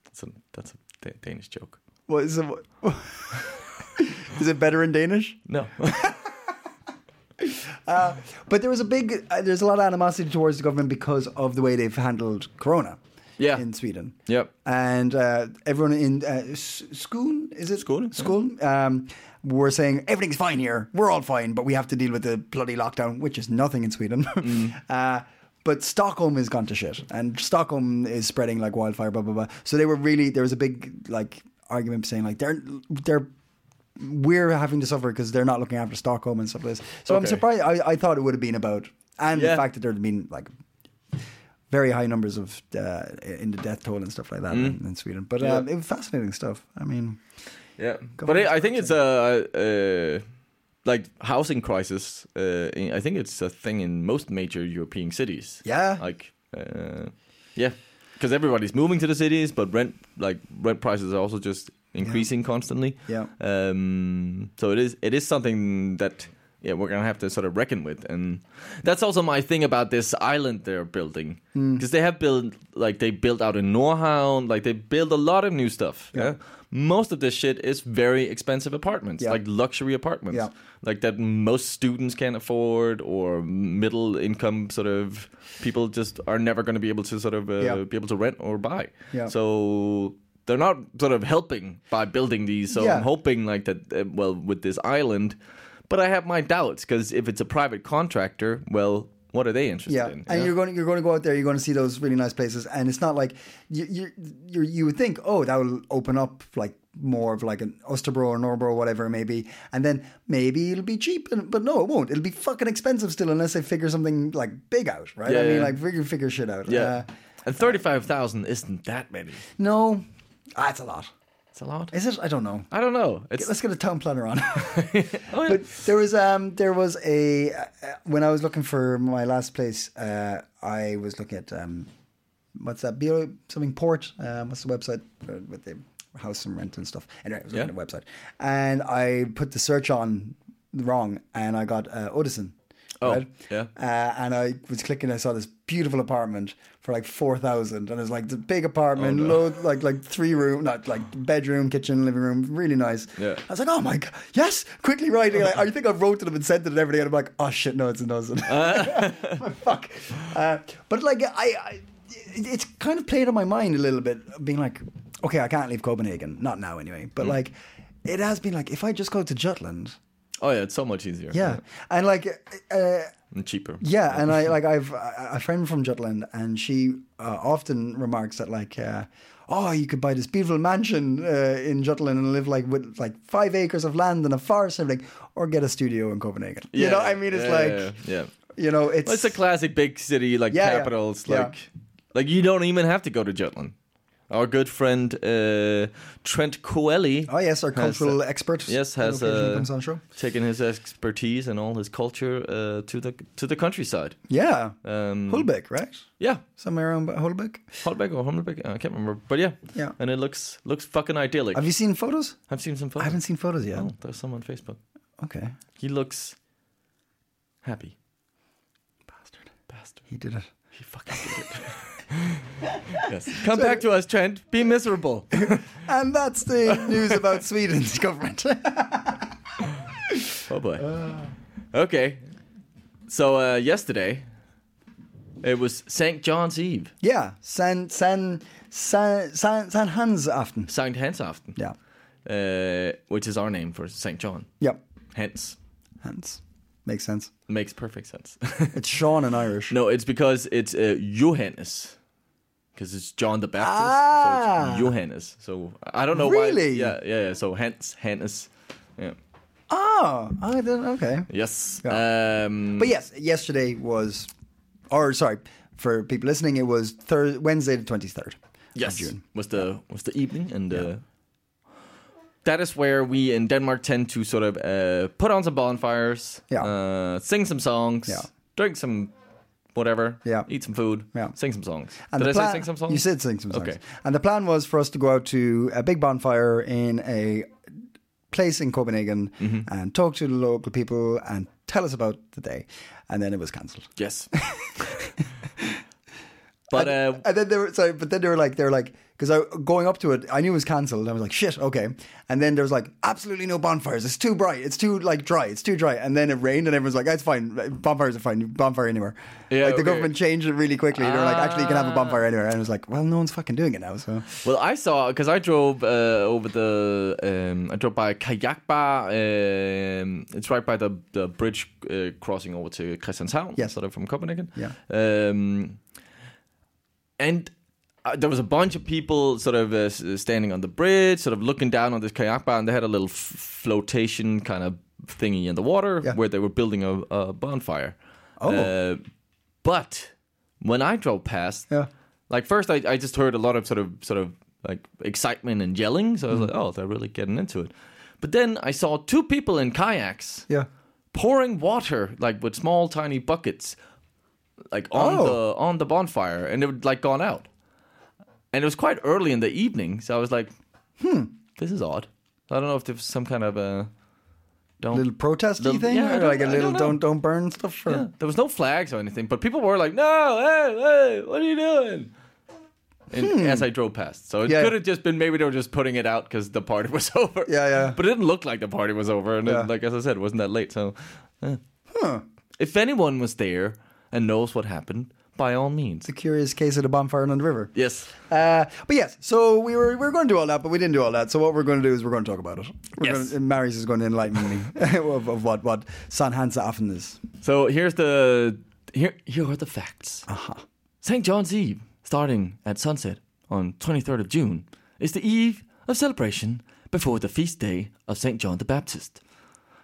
[SPEAKER 2] That's a, that's a Da- Danish joke.
[SPEAKER 3] what is it? What, is it better in Danish?
[SPEAKER 2] No.
[SPEAKER 3] Uh, but there was a big, uh, there's a lot of animosity towards the government because of the way they've handled Corona.
[SPEAKER 2] Yeah.
[SPEAKER 3] in Sweden.
[SPEAKER 2] Yep.
[SPEAKER 3] And uh, everyone in uh, S- Skåne, is it
[SPEAKER 2] Skåne, yeah.
[SPEAKER 3] Skåne, um, were saying everything's fine here. We're all fine, but we have to deal with the bloody lockdown, which is nothing in Sweden.
[SPEAKER 2] Mm.
[SPEAKER 3] uh, but Stockholm has gone to shit, and Stockholm is spreading like wildfire. Blah blah blah. So they were really there was a big like argument saying like they're they're we're having to suffer because they're not looking after Stockholm and stuff like this. So I'm
[SPEAKER 2] Okay.
[SPEAKER 3] surprised. I, I thought it would have been about and the
[SPEAKER 2] Yeah.
[SPEAKER 3] fact that there'd been like very high numbers of uh, in the death toll and stuff like that in, in Sweden. But uh,
[SPEAKER 2] Mm. Yeah.
[SPEAKER 3] it was fascinating stuff. I mean,
[SPEAKER 2] yeah. But I I think it's a, uh like housing crisis. Uh, in- I think it's a thing in most major European cities.
[SPEAKER 3] yeah,
[SPEAKER 2] Like, uh, yeah, because everybody's moving to the cities, but rent like rent prices are also just increasing constantly.
[SPEAKER 3] yeah,
[SPEAKER 2] Um, so it is it is something that yeah, we're gonna have to sort of reckon with. And that's also my thing about this island they're building
[SPEAKER 3] Hmm.
[SPEAKER 2] because they have built like they built out in Norhound, like they build a lot of new stuff. Yeah. Most of this shit is very expensive apartments,
[SPEAKER 3] Yeah.
[SPEAKER 2] like luxury apartments,
[SPEAKER 3] Yeah.
[SPEAKER 2] like that most students can't afford, or middle income sort of people just are never going to be able to sort of uh,
[SPEAKER 3] Yeah.
[SPEAKER 2] be able to rent or buy.
[SPEAKER 3] Yeah.
[SPEAKER 2] So they're not sort of helping by building these. So
[SPEAKER 3] Yeah.
[SPEAKER 2] I'm hoping like that. Uh, well, with this island, but I have my doubts because if it's a private contractor, well, what are they interested
[SPEAKER 3] Yeah,
[SPEAKER 2] in?
[SPEAKER 3] and you're going to, you're going to go out there. You're going to see those really nice places, and it's not like you you you, you would think, oh, that will open up like more of like an Osterbro or Norbro or whatever it may be, and then maybe it'll be cheap, and, but no, it won't. It'll be fucking expensive still unless they figure something like big out, right? I
[SPEAKER 2] Yeah,
[SPEAKER 3] mean,
[SPEAKER 2] yeah.
[SPEAKER 3] like figure figure shit out.
[SPEAKER 2] yeah.
[SPEAKER 3] Uh,
[SPEAKER 2] and thirty-five thousand isn't that many.
[SPEAKER 3] no, that's a lot.
[SPEAKER 2] It's a lot.
[SPEAKER 3] Is it? I don't know.
[SPEAKER 2] I don't know. It's
[SPEAKER 3] Let's get a town planner on.
[SPEAKER 2] oh, yeah.
[SPEAKER 3] but there was um there was a uh, when I was looking for my last place, uh, I was looking at um what's that Bureau something port um, what's the website uh, with the house and rent and stuff. Anyway, I was looking
[SPEAKER 2] Yeah.
[SPEAKER 3] at a website and I put the search on wrong and I got uh, Odison.
[SPEAKER 2] Oh,
[SPEAKER 3] right?
[SPEAKER 2] yeah.
[SPEAKER 3] Uh, and I was clicking. I saw this beautiful apartment for like four thousand, and it was like the big apartment, load like like three room, not like bedroom, kitchen, living room, really nice.
[SPEAKER 2] Yeah.
[SPEAKER 3] I was like, oh my god, yes, quickly writing. Like, I think I wrote to them and sent it and everything. And I'm like, oh shit, no, it's a dozen. Fuck. Uh, but like, I, I, it- it's kind of played on my mind a little bit, being like, okay, I can't leave Copenhagen, not now anyway. But like, it has been like, if I just go to Jutland,
[SPEAKER 2] oh yeah, it's so much easier.
[SPEAKER 3] yeah, and like. Uh,
[SPEAKER 2] and cheaper.
[SPEAKER 3] yeah, and I like I've a a friend from Jutland, and she uh, often remarks that like, uh, oh, you could buy this beautiful mansion uh, in Jutland and live like with like five acres of land and a forest and everything, or get a studio in Copenhagen. you know, I mean, it's
[SPEAKER 2] yeah,
[SPEAKER 3] like,
[SPEAKER 2] yeah, yeah.
[SPEAKER 3] you know, it's
[SPEAKER 2] Well, it's a classic big city like
[SPEAKER 3] Yeah, yeah.
[SPEAKER 2] capitals.
[SPEAKER 3] Yeah.
[SPEAKER 2] Like, like you don't even have to go to Jutland. Our good friend uh, Trent Coeli.
[SPEAKER 3] oh yes, our
[SPEAKER 2] has,
[SPEAKER 3] cultural
[SPEAKER 2] uh,
[SPEAKER 3] expert.
[SPEAKER 2] Yes,
[SPEAKER 3] on
[SPEAKER 2] has
[SPEAKER 3] occasion
[SPEAKER 2] uh,
[SPEAKER 3] comes on show.
[SPEAKER 2] taken his expertise and all his culture uh, to the to the countryside.
[SPEAKER 3] Yeah,
[SPEAKER 2] Um,
[SPEAKER 3] Holbeck, right?
[SPEAKER 2] Yeah,
[SPEAKER 3] Somewhere around Holbeck.
[SPEAKER 2] Holbeck or Holmbeck, I can't remember, but yeah,
[SPEAKER 3] Yeah.
[SPEAKER 2] and it looks looks fucking idyllic.
[SPEAKER 3] Have you seen photos?
[SPEAKER 2] I've seen some photos.
[SPEAKER 3] I haven't seen photos yet.
[SPEAKER 2] Oh, there's some on Facebook.
[SPEAKER 3] Okay,
[SPEAKER 2] He looks happy.
[SPEAKER 3] bastard,
[SPEAKER 2] Bastard.
[SPEAKER 3] he did it.
[SPEAKER 2] He fucking did it. yes. Come back to us, Trent. Be miserable.
[SPEAKER 3] And that's the news about Sweden's government.
[SPEAKER 2] Oh boy.
[SPEAKER 3] Uh.
[SPEAKER 2] Okay. So uh, yesterday, it was St. John's Eve,
[SPEAKER 3] Yeah, San San San San, San Hans often.
[SPEAKER 2] St. Hansaften,
[SPEAKER 3] Yeah,
[SPEAKER 2] uh, which is our name for St. John.
[SPEAKER 3] yep.
[SPEAKER 2] Hence,
[SPEAKER 3] Hans makes sense.
[SPEAKER 2] makes perfect sense.
[SPEAKER 3] It's Sean in Irish.
[SPEAKER 2] no, it's because it's uh, Johannes, because it's John the Baptist. So
[SPEAKER 3] Ah.
[SPEAKER 2] it's Johannes. So I don't know
[SPEAKER 3] Really?
[SPEAKER 2] why. Yeah, yeah, yeah. So hence, Hannes. Yeah.
[SPEAKER 3] Oh, I don't. Okay,
[SPEAKER 2] Yes. Um,
[SPEAKER 3] but yes, yesterday was, or sorry, for people listening, it was Thursday, Wednesday the twenty third.
[SPEAKER 2] yes,
[SPEAKER 3] June.
[SPEAKER 2] was the was the evening, and uh, that is where we in Denmark tend to sort of uh, put on some bonfires,
[SPEAKER 3] Yeah.
[SPEAKER 2] uh, sing some songs,
[SPEAKER 3] Yeah.
[SPEAKER 2] drink some whatever,
[SPEAKER 3] Yeah.
[SPEAKER 2] eat some food,
[SPEAKER 3] Yeah.
[SPEAKER 2] sing some songs.
[SPEAKER 3] And
[SPEAKER 2] Did
[SPEAKER 3] the
[SPEAKER 2] I
[SPEAKER 3] plan-
[SPEAKER 2] say sing some songs?
[SPEAKER 3] You said sing some songs.
[SPEAKER 2] Okay.
[SPEAKER 3] And the plan was for us to go out to a big bonfire in a place in Copenhagen
[SPEAKER 2] Mm-hmm.
[SPEAKER 3] and talk to the local people and tell us about the day. And then it was cancelled.
[SPEAKER 2] yes. but uh,
[SPEAKER 3] And then they were sorry, but then they were like they were like because I going up to it, I knew it was cancelled. I was like shit, okay. And then there was like absolutely no bonfires. It's too bright. It's too like dry. It's too dry. And then it rained, and everyone's like, that's fine. Bonfires are fine. You bonfire anywhere.
[SPEAKER 2] Yeah,
[SPEAKER 3] like the
[SPEAKER 2] okay. Ah.
[SPEAKER 3] government changed it really quickly. They were like, actually, you can have a bonfire anywhere. And I was like, well, no one's fucking doing it now. So
[SPEAKER 2] Well, I saw because I drove uh, over the um, I drove by kayak bar. Um, it's right by the the bridge uh, crossing over to Christianshavn,
[SPEAKER 3] Yes.
[SPEAKER 2] sort of from Copenhagen.
[SPEAKER 3] Yeah.
[SPEAKER 2] Um, and uh, there was a bunch of people sort of uh, s- standing on the bridge, sort of looking down on this kayak bar, and they had a little f- flotation kind of thingy in the water
[SPEAKER 3] Yeah.
[SPEAKER 2] where they were building a, a bonfire.
[SPEAKER 3] Oh.
[SPEAKER 2] Uh, but when I drove past,
[SPEAKER 3] Yeah.
[SPEAKER 2] like first I, I just heard a lot of sort of sort of like excitement and yelling, so I was
[SPEAKER 3] Mm.
[SPEAKER 2] like, oh, they're really getting into it. But then I saw two people in kayaks
[SPEAKER 3] yeah,
[SPEAKER 2] pouring water like with small tiny buckets like on
[SPEAKER 3] Oh.
[SPEAKER 2] the on the bonfire and it would like gone out and it was quite early in the evening so i was like hmm this is odd i don't know if there's some kind of a Don't.
[SPEAKER 3] little protesty
[SPEAKER 2] Little-
[SPEAKER 3] thing,
[SPEAKER 2] yeah, I
[SPEAKER 3] or like a
[SPEAKER 2] don't- I
[SPEAKER 3] little
[SPEAKER 2] don't know.
[SPEAKER 3] don't don't burn stuff. Or,
[SPEAKER 2] Yeah, there was no flags or anything, but people were like, "No, hey, hey, what are you doing?" And as I drove past, so it
[SPEAKER 3] Hmm. Yeah.
[SPEAKER 2] could have just been maybe they were just putting it out because the party was over.
[SPEAKER 3] Yeah, yeah.
[SPEAKER 2] But it didn't look like the party was over, and
[SPEAKER 3] Yeah.
[SPEAKER 2] it, like as I said, it wasn't that late. So, eh.
[SPEAKER 3] Huh.
[SPEAKER 2] if anyone was there and knows what happened, by all means,
[SPEAKER 3] The curious case of the bonfire on the river.
[SPEAKER 2] yes,
[SPEAKER 3] Uh, but yes, so we were we were going to do all that, but we didn't do all that. So what we're going to do is we're going to talk about it. We're
[SPEAKER 2] Yes.
[SPEAKER 3] going, and Marius is going to enlighten me of, of what what San Hansaaften is.
[SPEAKER 2] So here's the here here are the facts. St. John's Eve, starting at sunset on 23rd of June, is the eve of celebration before the feast day of St. John the Baptist.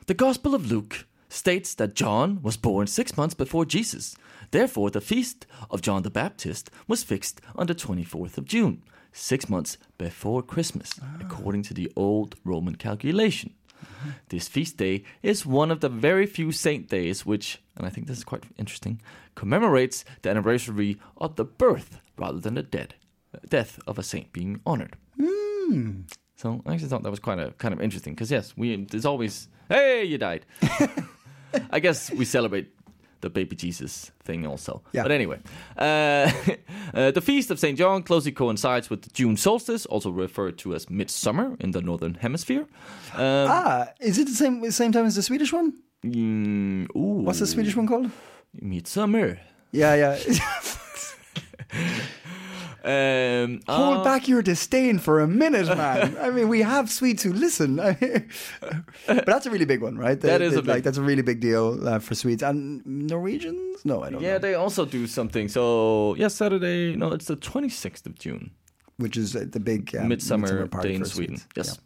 [SPEAKER 2] The Gospel of Luke states that John was born 6 months before Jesus. Therefore, the feast of John the Baptist was fixed on the 24th of June, 6 months before Christmas, according to the old Roman calculation. This feast day is one of the very few saint days which, and I think this is quite interesting, commemorates the anniversary of the birth rather than the dead uh, death of a saint being honored. So I actually thought that was quite a kind of interesting because yes, we there's always hey you died. I guess we celebrate the baby Jesus thing also.
[SPEAKER 3] Yeah.
[SPEAKER 2] But anyway, uh, uh, the feast of Saint John closely coincides with the June solstice, also referred to as midsummer in the northern hemisphere. Um,
[SPEAKER 3] Ah, is it the same the same time as the Swedish one?
[SPEAKER 2] Mm, ooh.
[SPEAKER 3] What's the Swedish one called?
[SPEAKER 2] Midsummer.
[SPEAKER 3] Yeah, yeah.
[SPEAKER 2] Um,
[SPEAKER 3] Hold
[SPEAKER 2] uh,
[SPEAKER 3] back your disdain for a minute, man. I mean, we have Swedes who listen, I mean, but that's a really big one, right?
[SPEAKER 2] That is a
[SPEAKER 3] like
[SPEAKER 2] big-
[SPEAKER 3] that's a really big deal uh, for Swedes and Norwegians. No, I don't know.
[SPEAKER 2] Yeah, they also do something. So, yeah, Saturday. No, it's the 26th of June.
[SPEAKER 3] Which is uh, the big um,
[SPEAKER 2] Midsummer,
[SPEAKER 3] party
[SPEAKER 2] Day in
[SPEAKER 3] for
[SPEAKER 2] Sweden.
[SPEAKER 3] Swedes.
[SPEAKER 2] Yes.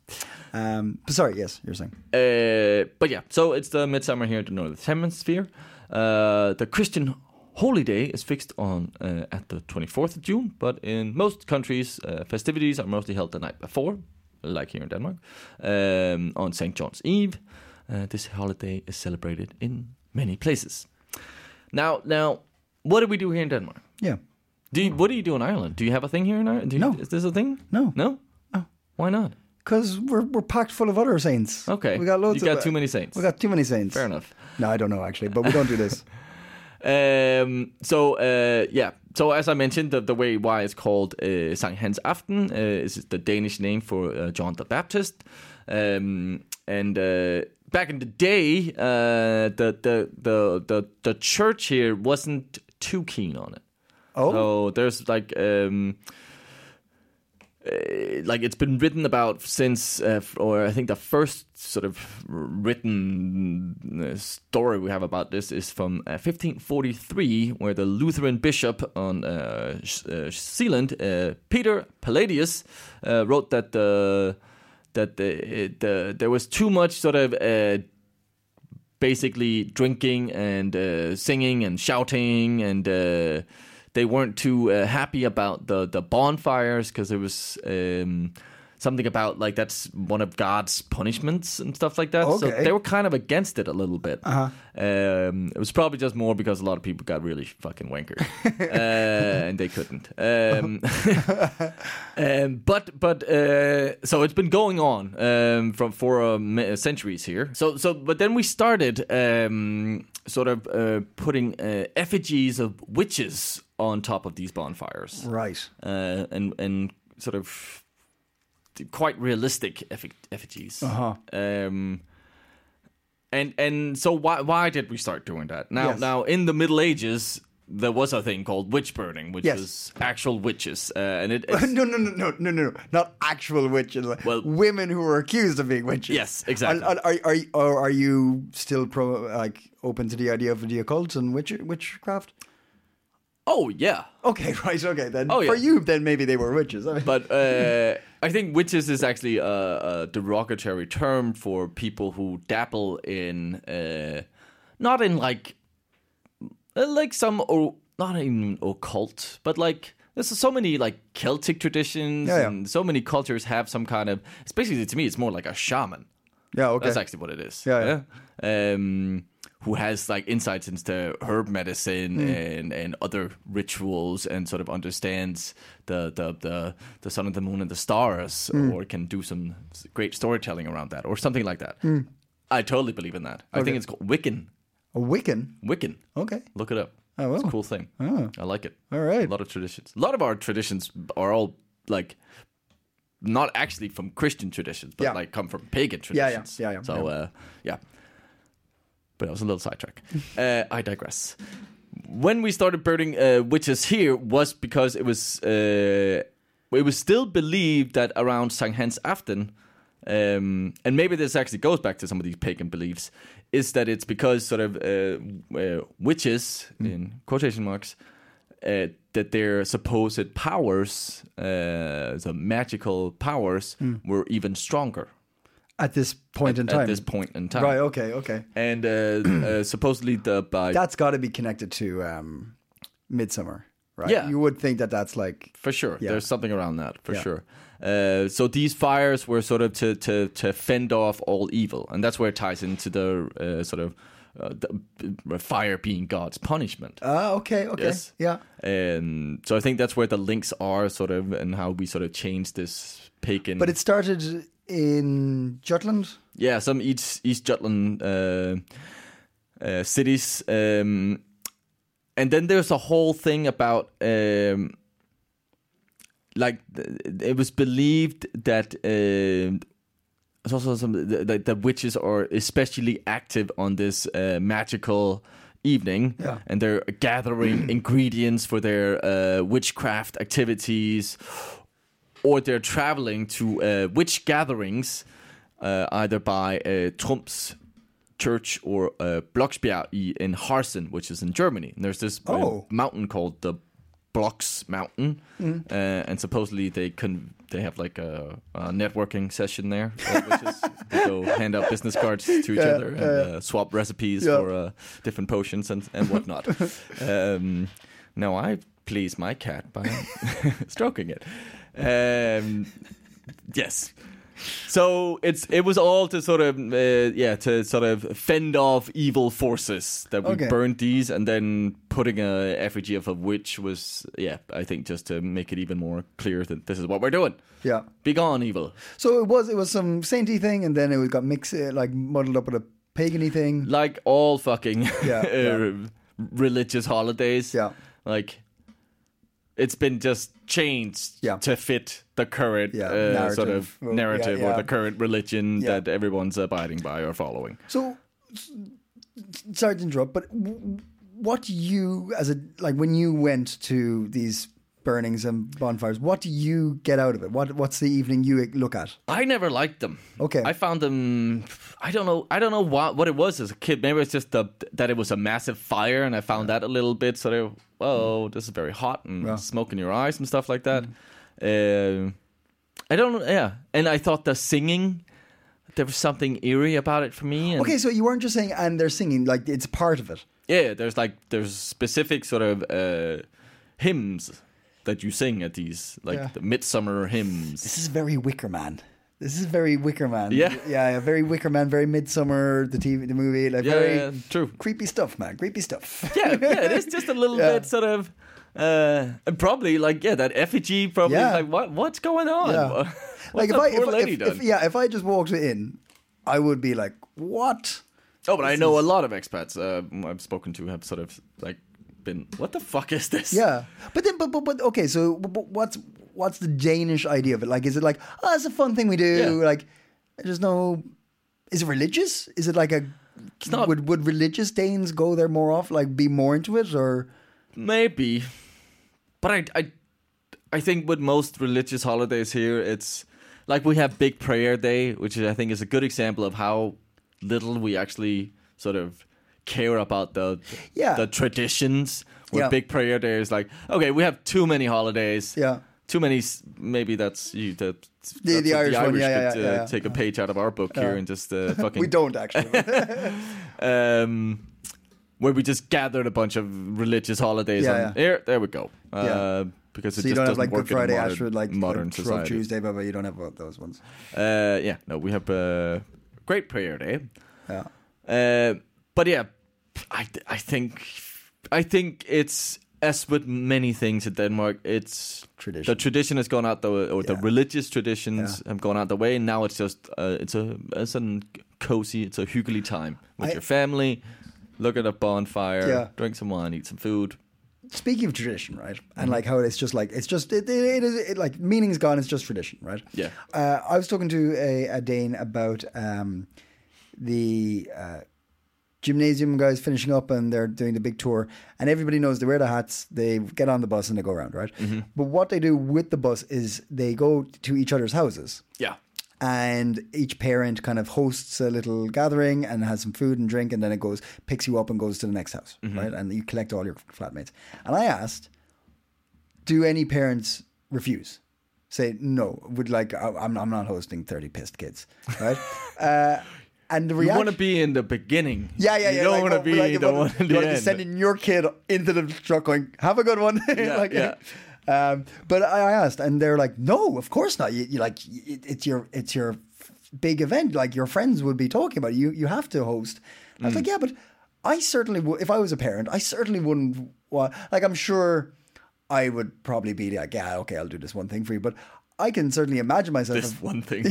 [SPEAKER 3] Yeah. Um, but sorry, yes, you're saying.
[SPEAKER 2] Uh, but yeah, so it's the midsummer here in the northern hemisphere. Uh, the Christian holy day is fixed on uh, at the 24th of June, but in most countries, uh, festivities are mostly held the night before, like here in Denmark, um, on St. John's Eve. Uh, this holiday is celebrated in many places. Now, now, what do we do here in Denmark?
[SPEAKER 3] Yeah.
[SPEAKER 2] Do you, what do you do in Ireland? Do you have a thing here in Ireland? Do you,
[SPEAKER 3] No.
[SPEAKER 2] Is this a thing?
[SPEAKER 3] No.
[SPEAKER 2] No.
[SPEAKER 3] No.
[SPEAKER 2] Why not?
[SPEAKER 3] Because we're, we're packed full of other saints.
[SPEAKER 2] Okay.
[SPEAKER 3] We got loads
[SPEAKER 2] You
[SPEAKER 3] of
[SPEAKER 2] got too many saints.
[SPEAKER 3] We got too many saints.
[SPEAKER 2] Fair enough.
[SPEAKER 3] No, I don't know actually, but we don't do this.
[SPEAKER 2] Um, so uh, yeah, so as I mentioned, the, the way why it's called uh, Sankt Hans Aften uh, is the Danish name for uh, John the Baptist, um, and uh, back in the day, uh, the, the the the the church here wasn't too keen on it.
[SPEAKER 3] Oh.
[SPEAKER 2] so there's like. Um, uh, like it's been written about since, uh, f- or I think the first sort of written uh, story we have about this is from uh, 1543, where the Lutheran bishop on uh, Sh- uh, Sealand, uh, Peter Palladius, uh, wrote that the that the, it, the there was too much sort of uh, basically drinking and uh, singing and shouting and uh, they weren't too uh, happy about the the bonfires because it was um, something about like that's one of God's punishments and stuff like that. So
[SPEAKER 3] Okay.
[SPEAKER 2] they were kind of against it a little bit. Uh-huh. Um, it was probably just more because a lot of people got really fucking wankered uh, and they couldn't. Um, um, but but uh, so it's been going on um, from for uh, m- centuries here. So so but then we started um, sort of uh, putting uh, effigies of witches on top of these bonfires,
[SPEAKER 3] right.
[SPEAKER 2] uh, and and sort of quite realistic effi- effigies.
[SPEAKER 3] Uh-huh.
[SPEAKER 2] Um, and and so why why did we start doing that? Now
[SPEAKER 3] Yes.
[SPEAKER 2] now in the Middle Ages there was a thing called witch burning, which
[SPEAKER 3] Yes.
[SPEAKER 2] was actual witches, uh, and it
[SPEAKER 3] no, no, no, no, no, no, no. Not actual witches.
[SPEAKER 2] Well-
[SPEAKER 3] women who were accused of being witches.
[SPEAKER 2] Yes, exactly.
[SPEAKER 3] Are, are, are, are, are you still pro, like open to the idea of the occult and witch, witchcraft?
[SPEAKER 2] oh yeah,
[SPEAKER 3] Okay, right. Okay, then
[SPEAKER 2] Oh,
[SPEAKER 3] for
[SPEAKER 2] yeah.
[SPEAKER 3] you, then maybe they were witches. I mean,
[SPEAKER 2] but uh, I think witches is actually a, a derogatory term for people who dabble in, uh, not in like, uh, like some o- not in occult, but like there's so many like Celtic traditions
[SPEAKER 3] Yeah, yeah.
[SPEAKER 2] and so many cultures have some kind of. Especially to me, it's more like a shaman.
[SPEAKER 3] yeah, okay.
[SPEAKER 2] That's actually what it is.
[SPEAKER 3] Yeah, yeah.
[SPEAKER 2] Um, who has like insights into herb medicine
[SPEAKER 3] Hmm.
[SPEAKER 2] and, and other rituals and sort of understands the the the, the sun
[SPEAKER 3] Hmm. Hmm.
[SPEAKER 2] and the moon and the stars or can do some s- great storytelling around that or something like that. I totally believe in that. I think it's called Wiccan.
[SPEAKER 3] A Wiccan.
[SPEAKER 2] Wiccan.
[SPEAKER 3] Okay.
[SPEAKER 2] Look it up.
[SPEAKER 3] I
[SPEAKER 2] It's
[SPEAKER 3] will.
[SPEAKER 2] a cool thing. I like it.
[SPEAKER 3] Oh, Ah. All right.
[SPEAKER 2] A lot of traditions. A lot of our traditions are all like not actually from Christian traditions, but
[SPEAKER 3] Yeah.
[SPEAKER 2] like come from pagan
[SPEAKER 3] yeah.
[SPEAKER 2] traditions.
[SPEAKER 3] Yeah, yeah,
[SPEAKER 2] So
[SPEAKER 3] yeah.
[SPEAKER 2] Uh, yeah. But I was a little sidetrack. uh, I digress. When we started burning uh, witches here was because it was uh, it was still believed that around St. Hans Afton, um, and maybe this actually goes back to some of these pagan beliefs, is that it's because sort of uh, uh, witches
[SPEAKER 3] Hmm.
[SPEAKER 2] in quotation marks uh, that their supposed powers, uh, the magical powers,
[SPEAKER 3] Hmm.
[SPEAKER 2] were even stronger
[SPEAKER 3] At this point in time.
[SPEAKER 2] at this point in time.
[SPEAKER 3] Right. Okay. Okay.
[SPEAKER 2] And uh, uh, supposedly the by
[SPEAKER 3] That's got to be connected to um, Midsummer, right?
[SPEAKER 2] Yeah.
[SPEAKER 3] You would think that that's like
[SPEAKER 2] for sure,
[SPEAKER 3] Yeah.
[SPEAKER 2] there's something around that for
[SPEAKER 3] Yeah.
[SPEAKER 2] sure. Uh, so these fires were sort of to, to to fend off all evil, and that's where it ties into the uh, sort of uh, the fire being God's punishment.
[SPEAKER 3] ah, okay, okay,
[SPEAKER 2] Yes.
[SPEAKER 3] yeah.
[SPEAKER 2] And so I think that's where the links are, sort of, and how we sort of change this pagan.
[SPEAKER 3] But it started in Jutland.
[SPEAKER 2] yeah, some East East Jutland uh, uh, cities, um, and then there's a whole thing about um, like th- it was believed that um it's also some th- th- that witches are especially active on this uh, magical evening
[SPEAKER 3] Yeah.
[SPEAKER 2] and they're gathering ingredients for their uh, witchcraft activities or they're traveling to uh, witch gatherings, uh, either by uh, Trumps Church or uh, Blocksberg i- in Harsen, which is in Germany. And there's this uh,
[SPEAKER 3] Oh.
[SPEAKER 2] mountain called the Blocks Mountain, uh, and supposedly they can they have like a, a networking session there, uh, which is they go hand out business cards to each other and uh, swap recipes
[SPEAKER 3] Yeah.
[SPEAKER 2] for uh, different potions and and whatnot. um, now I please my cat by stroking it. Um, yes. So it's it was all to sort of uh, yeah to sort of fend off evil forces that we
[SPEAKER 3] Okay.
[SPEAKER 2] burned these and then putting a effigy of a witch was yeah I think just to make it even more clear that this is what we're doing.
[SPEAKER 3] Yeah.
[SPEAKER 2] Be gone, evil.
[SPEAKER 3] So it was it was some sainty thing, and then it got mixed uh, like muddled up with a pagany thing.
[SPEAKER 2] Like all fucking
[SPEAKER 3] Yeah,
[SPEAKER 2] uh,
[SPEAKER 3] yeah.
[SPEAKER 2] religious holidays.
[SPEAKER 3] Yeah.
[SPEAKER 2] Like it's been just changed
[SPEAKER 3] Yeah.
[SPEAKER 2] to fit the current
[SPEAKER 3] Yeah,
[SPEAKER 2] uh, sort
[SPEAKER 3] narrative.
[SPEAKER 2] of
[SPEAKER 3] Well, yeah,
[SPEAKER 2] narrative
[SPEAKER 3] yeah.
[SPEAKER 2] or the current religion
[SPEAKER 3] Yeah.
[SPEAKER 2] that everyone's abiding by or following.
[SPEAKER 3] So s- s- sorry to interrupt, but w- what you as a like when you went to these burnings and bonfires, what do you get out of it? What what's the evening you look at?
[SPEAKER 2] I never liked them.
[SPEAKER 3] Okay.
[SPEAKER 2] I found them. I don't know. I don't know what what it was as a kid. Maybe it's just the, that it was a massive fire, and I found that a little bit sort of whoa, this is very hot and smoke in your eyes and stuff like that.
[SPEAKER 3] Mm.
[SPEAKER 2] Um I don't. know. Yeah, and I thought the singing. There was something eerie about it for me. And
[SPEAKER 3] Okay, so you weren't just saying and they're singing like it's part of it.
[SPEAKER 2] Yeah, there's like there's specific sort of uh, hymns that you sing at these like
[SPEAKER 3] Yeah.
[SPEAKER 2] the midsummer hymns.
[SPEAKER 3] This is very Wicker Man. This is very Wicker Man.
[SPEAKER 2] Yeah.
[SPEAKER 3] yeah, yeah, very Wicker Man, very Midsummer, the TV, the movie, like
[SPEAKER 2] Yeah,
[SPEAKER 3] very
[SPEAKER 2] yeah, true.
[SPEAKER 3] creepy stuff, man. Creepy stuff.
[SPEAKER 2] yeah, yeah, it is just a little
[SPEAKER 3] Yeah.
[SPEAKER 2] bit sort of uh and probably like yeah, that effigy probably
[SPEAKER 3] Yeah.
[SPEAKER 2] like what what's going on?
[SPEAKER 3] Yeah.
[SPEAKER 2] What-
[SPEAKER 3] like
[SPEAKER 2] what's
[SPEAKER 3] if
[SPEAKER 2] that
[SPEAKER 3] I,
[SPEAKER 2] poor
[SPEAKER 3] if,
[SPEAKER 2] lady
[SPEAKER 3] if,
[SPEAKER 2] done?
[SPEAKER 3] if- yeah, if I just walked in, I would be like, what?
[SPEAKER 2] oh, but I know a lot of expats uh, I've spoken to have sort of like been what the fuck is this?
[SPEAKER 3] Yeah, but then, but but, but okay, so but, but what's what's the Danish idea of it? Like, is it like oh, it's a fun thing we do?
[SPEAKER 2] Yeah.
[SPEAKER 3] Like, there's no. Is it religious? Is it like a?
[SPEAKER 2] not-
[SPEAKER 3] would would religious Danes go there more off? Like, be more into it or?
[SPEAKER 2] Maybe, but I, I, I think with most religious holidays here, it's like we have Big Prayer Day, which I think is a good example of how little we actually sort of care about the
[SPEAKER 3] Yeah.
[SPEAKER 2] the traditions. Where
[SPEAKER 3] Yeah.
[SPEAKER 2] Big Prayer Day is like, okay, we have too many holidays.
[SPEAKER 3] Yeah.
[SPEAKER 2] Too many, s- maybe that's you. That,
[SPEAKER 3] The-
[SPEAKER 2] that's
[SPEAKER 3] the
[SPEAKER 2] what
[SPEAKER 3] Irish one, yeah, yeah,
[SPEAKER 2] could,
[SPEAKER 3] yeah,
[SPEAKER 2] uh,
[SPEAKER 3] yeah.
[SPEAKER 2] Take a page out of our book here and just uh, fucking
[SPEAKER 3] We don't actually.
[SPEAKER 2] um, where we just gathered a bunch of religious holidays.
[SPEAKER 3] Yeah,
[SPEAKER 2] on.
[SPEAKER 3] yeah.
[SPEAKER 2] Here, there we go. Uh,
[SPEAKER 3] Yeah.
[SPEAKER 2] Because it
[SPEAKER 3] so you
[SPEAKER 2] just
[SPEAKER 3] don't have
[SPEAKER 2] doesn't
[SPEAKER 3] like
[SPEAKER 2] work
[SPEAKER 3] Good Friday,
[SPEAKER 2] in modern,
[SPEAKER 3] Ashford, like
[SPEAKER 2] modern
[SPEAKER 3] Shrove
[SPEAKER 2] society.
[SPEAKER 3] Tuesday, but you don't have uh, those ones.
[SPEAKER 2] Uh, yeah, no, we have uh, Great Prayer Day.
[SPEAKER 3] Yeah.
[SPEAKER 2] Uh, but yeah, I, I think I think it's as with many things in Denmark, it's
[SPEAKER 3] Tradition.
[SPEAKER 2] The tradition has gone out the or the
[SPEAKER 3] Yeah.
[SPEAKER 2] religious traditions
[SPEAKER 3] Yeah.
[SPEAKER 2] have gone out the way, and now it's just uh, it's a it's a cozy. It's a hugely time with your family. Look at a bonfire.
[SPEAKER 3] Yeah.
[SPEAKER 2] Drink some wine. Eat some food.
[SPEAKER 3] Speaking of tradition, right,
[SPEAKER 2] Mm-hmm.
[SPEAKER 3] and like how it's just like it's just it, it, it is it, like meaning's gone. It's just tradition, right?
[SPEAKER 2] Yeah.
[SPEAKER 3] Uh, I was talking to a, a Dane about um, the uh, gymnasium guys finishing up and they're doing the big tour, and everybody knows they wear the hats. They get on the bus and they go around, right?
[SPEAKER 2] Mm-hmm.
[SPEAKER 3] But what they do with the bus is they go to each other's houses
[SPEAKER 2] Yeah.
[SPEAKER 3] and each parent kind of hosts a little gathering and has some food and drink and then it goes picks you up and goes to the next house right and you collect all your flatmates and i asked do any parents refuse say no would like I- i'm, I'm not hosting 30 pissed kids right uh, and the
[SPEAKER 2] You
[SPEAKER 3] reaction
[SPEAKER 2] want to be in the beginning.
[SPEAKER 3] yeah, yeah, yeah.
[SPEAKER 2] You don't
[SPEAKER 3] like,
[SPEAKER 2] want to
[SPEAKER 3] oh,
[SPEAKER 2] be
[SPEAKER 3] like,
[SPEAKER 2] the
[SPEAKER 3] you
[SPEAKER 2] one
[SPEAKER 3] wanna-
[SPEAKER 2] in
[SPEAKER 3] you
[SPEAKER 2] the
[SPEAKER 3] wanna be
[SPEAKER 2] end.
[SPEAKER 3] sending your kid into the truck, going, "Have a good one."
[SPEAKER 2] Yeah,
[SPEAKER 3] like,
[SPEAKER 2] yeah.
[SPEAKER 3] Um, but I I asked, and they're like, "No, of course not. You, you like, it, it's your, it's your f- big event. Like your friends would be talking about it. you. You have to host." I
[SPEAKER 2] Mm.
[SPEAKER 3] was like, "Yeah, but I certainly, w- if I was a parent, I certainly wouldn't. Wa- like, I'm sure I would probably be like, yeah, okay, I'll do this one thing for you, but." I can certainly imagine myself
[SPEAKER 2] This one thing.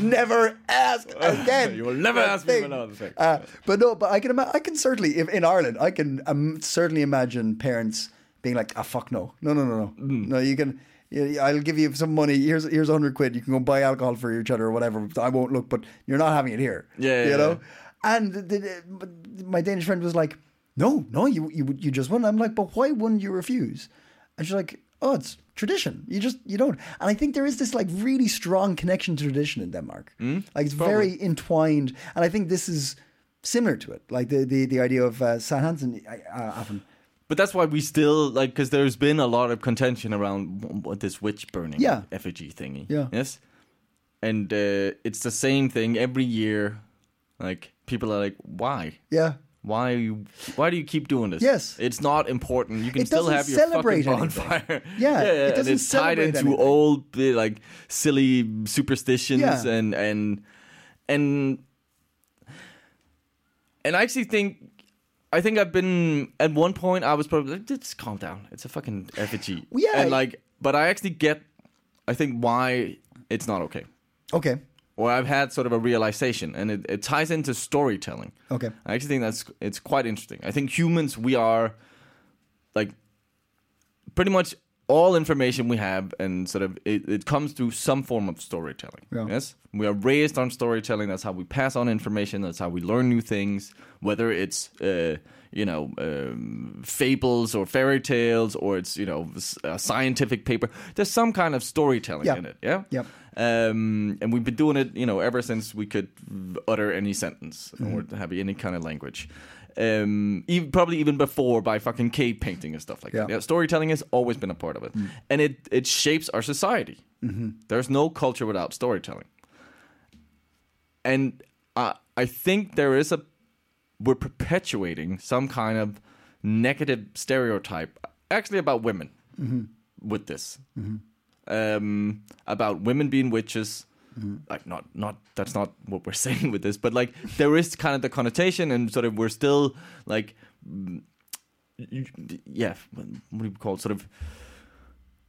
[SPEAKER 3] never ask again.
[SPEAKER 2] you will never
[SPEAKER 3] That
[SPEAKER 2] ask me about another thing.
[SPEAKER 3] Uh, but no, but I can ima- I can certainly if in Ireland I can um, certainly imagine parents being like, ah, fuck no, no, no, no, no,
[SPEAKER 2] Mm.
[SPEAKER 3] no. You can. you- I'll give you some money. Here's here's a hundred quid. You can go buy alcohol for each other or whatever. I won't look, but you're not having it here.
[SPEAKER 2] Yeah,
[SPEAKER 3] you
[SPEAKER 2] yeah,
[SPEAKER 3] know.
[SPEAKER 2] yeah.
[SPEAKER 3] And the, the, but my Danish friend was like, "No, no, you you would- you just wouldn't." I'm like, "But why wouldn't you refuse?" And she's like, "Oh, it's tradition. You just you don't." And I think there is this like really strong connection to tradition in Denmark. Like it's very entwined, and I think this is similar to it. Like the the, the idea of uh, San Hansen uh, uh, often.
[SPEAKER 2] But that's why we still like because there's been a lot of contention around w- w- this witch burning
[SPEAKER 3] Yeah.
[SPEAKER 2] effigy thingy.
[SPEAKER 3] Yeah.
[SPEAKER 2] Yes. And uh, it's the same thing every year. Like people are like, why?
[SPEAKER 3] Yeah,
[SPEAKER 2] Why you? Why do you keep doing this?
[SPEAKER 3] Yes.
[SPEAKER 2] it's not important. You can
[SPEAKER 3] It
[SPEAKER 2] still
[SPEAKER 3] doesn't
[SPEAKER 2] have your
[SPEAKER 3] celebrate
[SPEAKER 2] fucking
[SPEAKER 3] anything.
[SPEAKER 2] bonfire.
[SPEAKER 3] Yeah, it
[SPEAKER 2] and
[SPEAKER 3] doesn't
[SPEAKER 2] it's tied
[SPEAKER 3] celebrate
[SPEAKER 2] into
[SPEAKER 3] anything.
[SPEAKER 2] old uh, like silly superstitions
[SPEAKER 3] Yeah.
[SPEAKER 2] and and and and I actually think. I think I've been at one point. I was probably like, just calm down. It's a fucking effigy.
[SPEAKER 3] Well, yeah.
[SPEAKER 2] and like, but I actually get. I think why it's not okay
[SPEAKER 3] okay,
[SPEAKER 2] or I've had sort of a realization, and it, it ties into storytelling.
[SPEAKER 3] Okay.
[SPEAKER 2] I actually think that's it's quite interesting. I think humans we are like pretty much all information we have, and sort of it, it comes through some form of storytelling.
[SPEAKER 3] Yeah.
[SPEAKER 2] Yes, we are raised on storytelling. That's how we pass on information. That's how we learn new things. Whether it's uh, you know um, fables or fairy tales, or it's you know s- a scientific paper. There's some kind of storytelling
[SPEAKER 3] Yeah.
[SPEAKER 2] in it. Yeah.
[SPEAKER 3] Yep.
[SPEAKER 2] Um, and we've been doing it, you know, ever since we could utter any sentence or have any kind of language. Um, even, probably even before by fucking cave painting and stuff like
[SPEAKER 3] Yeah.
[SPEAKER 2] that. Yeah, storytelling has always been a part of it, and it it shapes our society. There's no culture without storytelling, and I I think there is a we're perpetuating some kind of negative stereotype, actually about women, with this um, about women being witches. Like not not that's not what we're saying with this, but like there is kind of the connotation, and sort of we're still like, mm, yeah, what do you call it? Sort of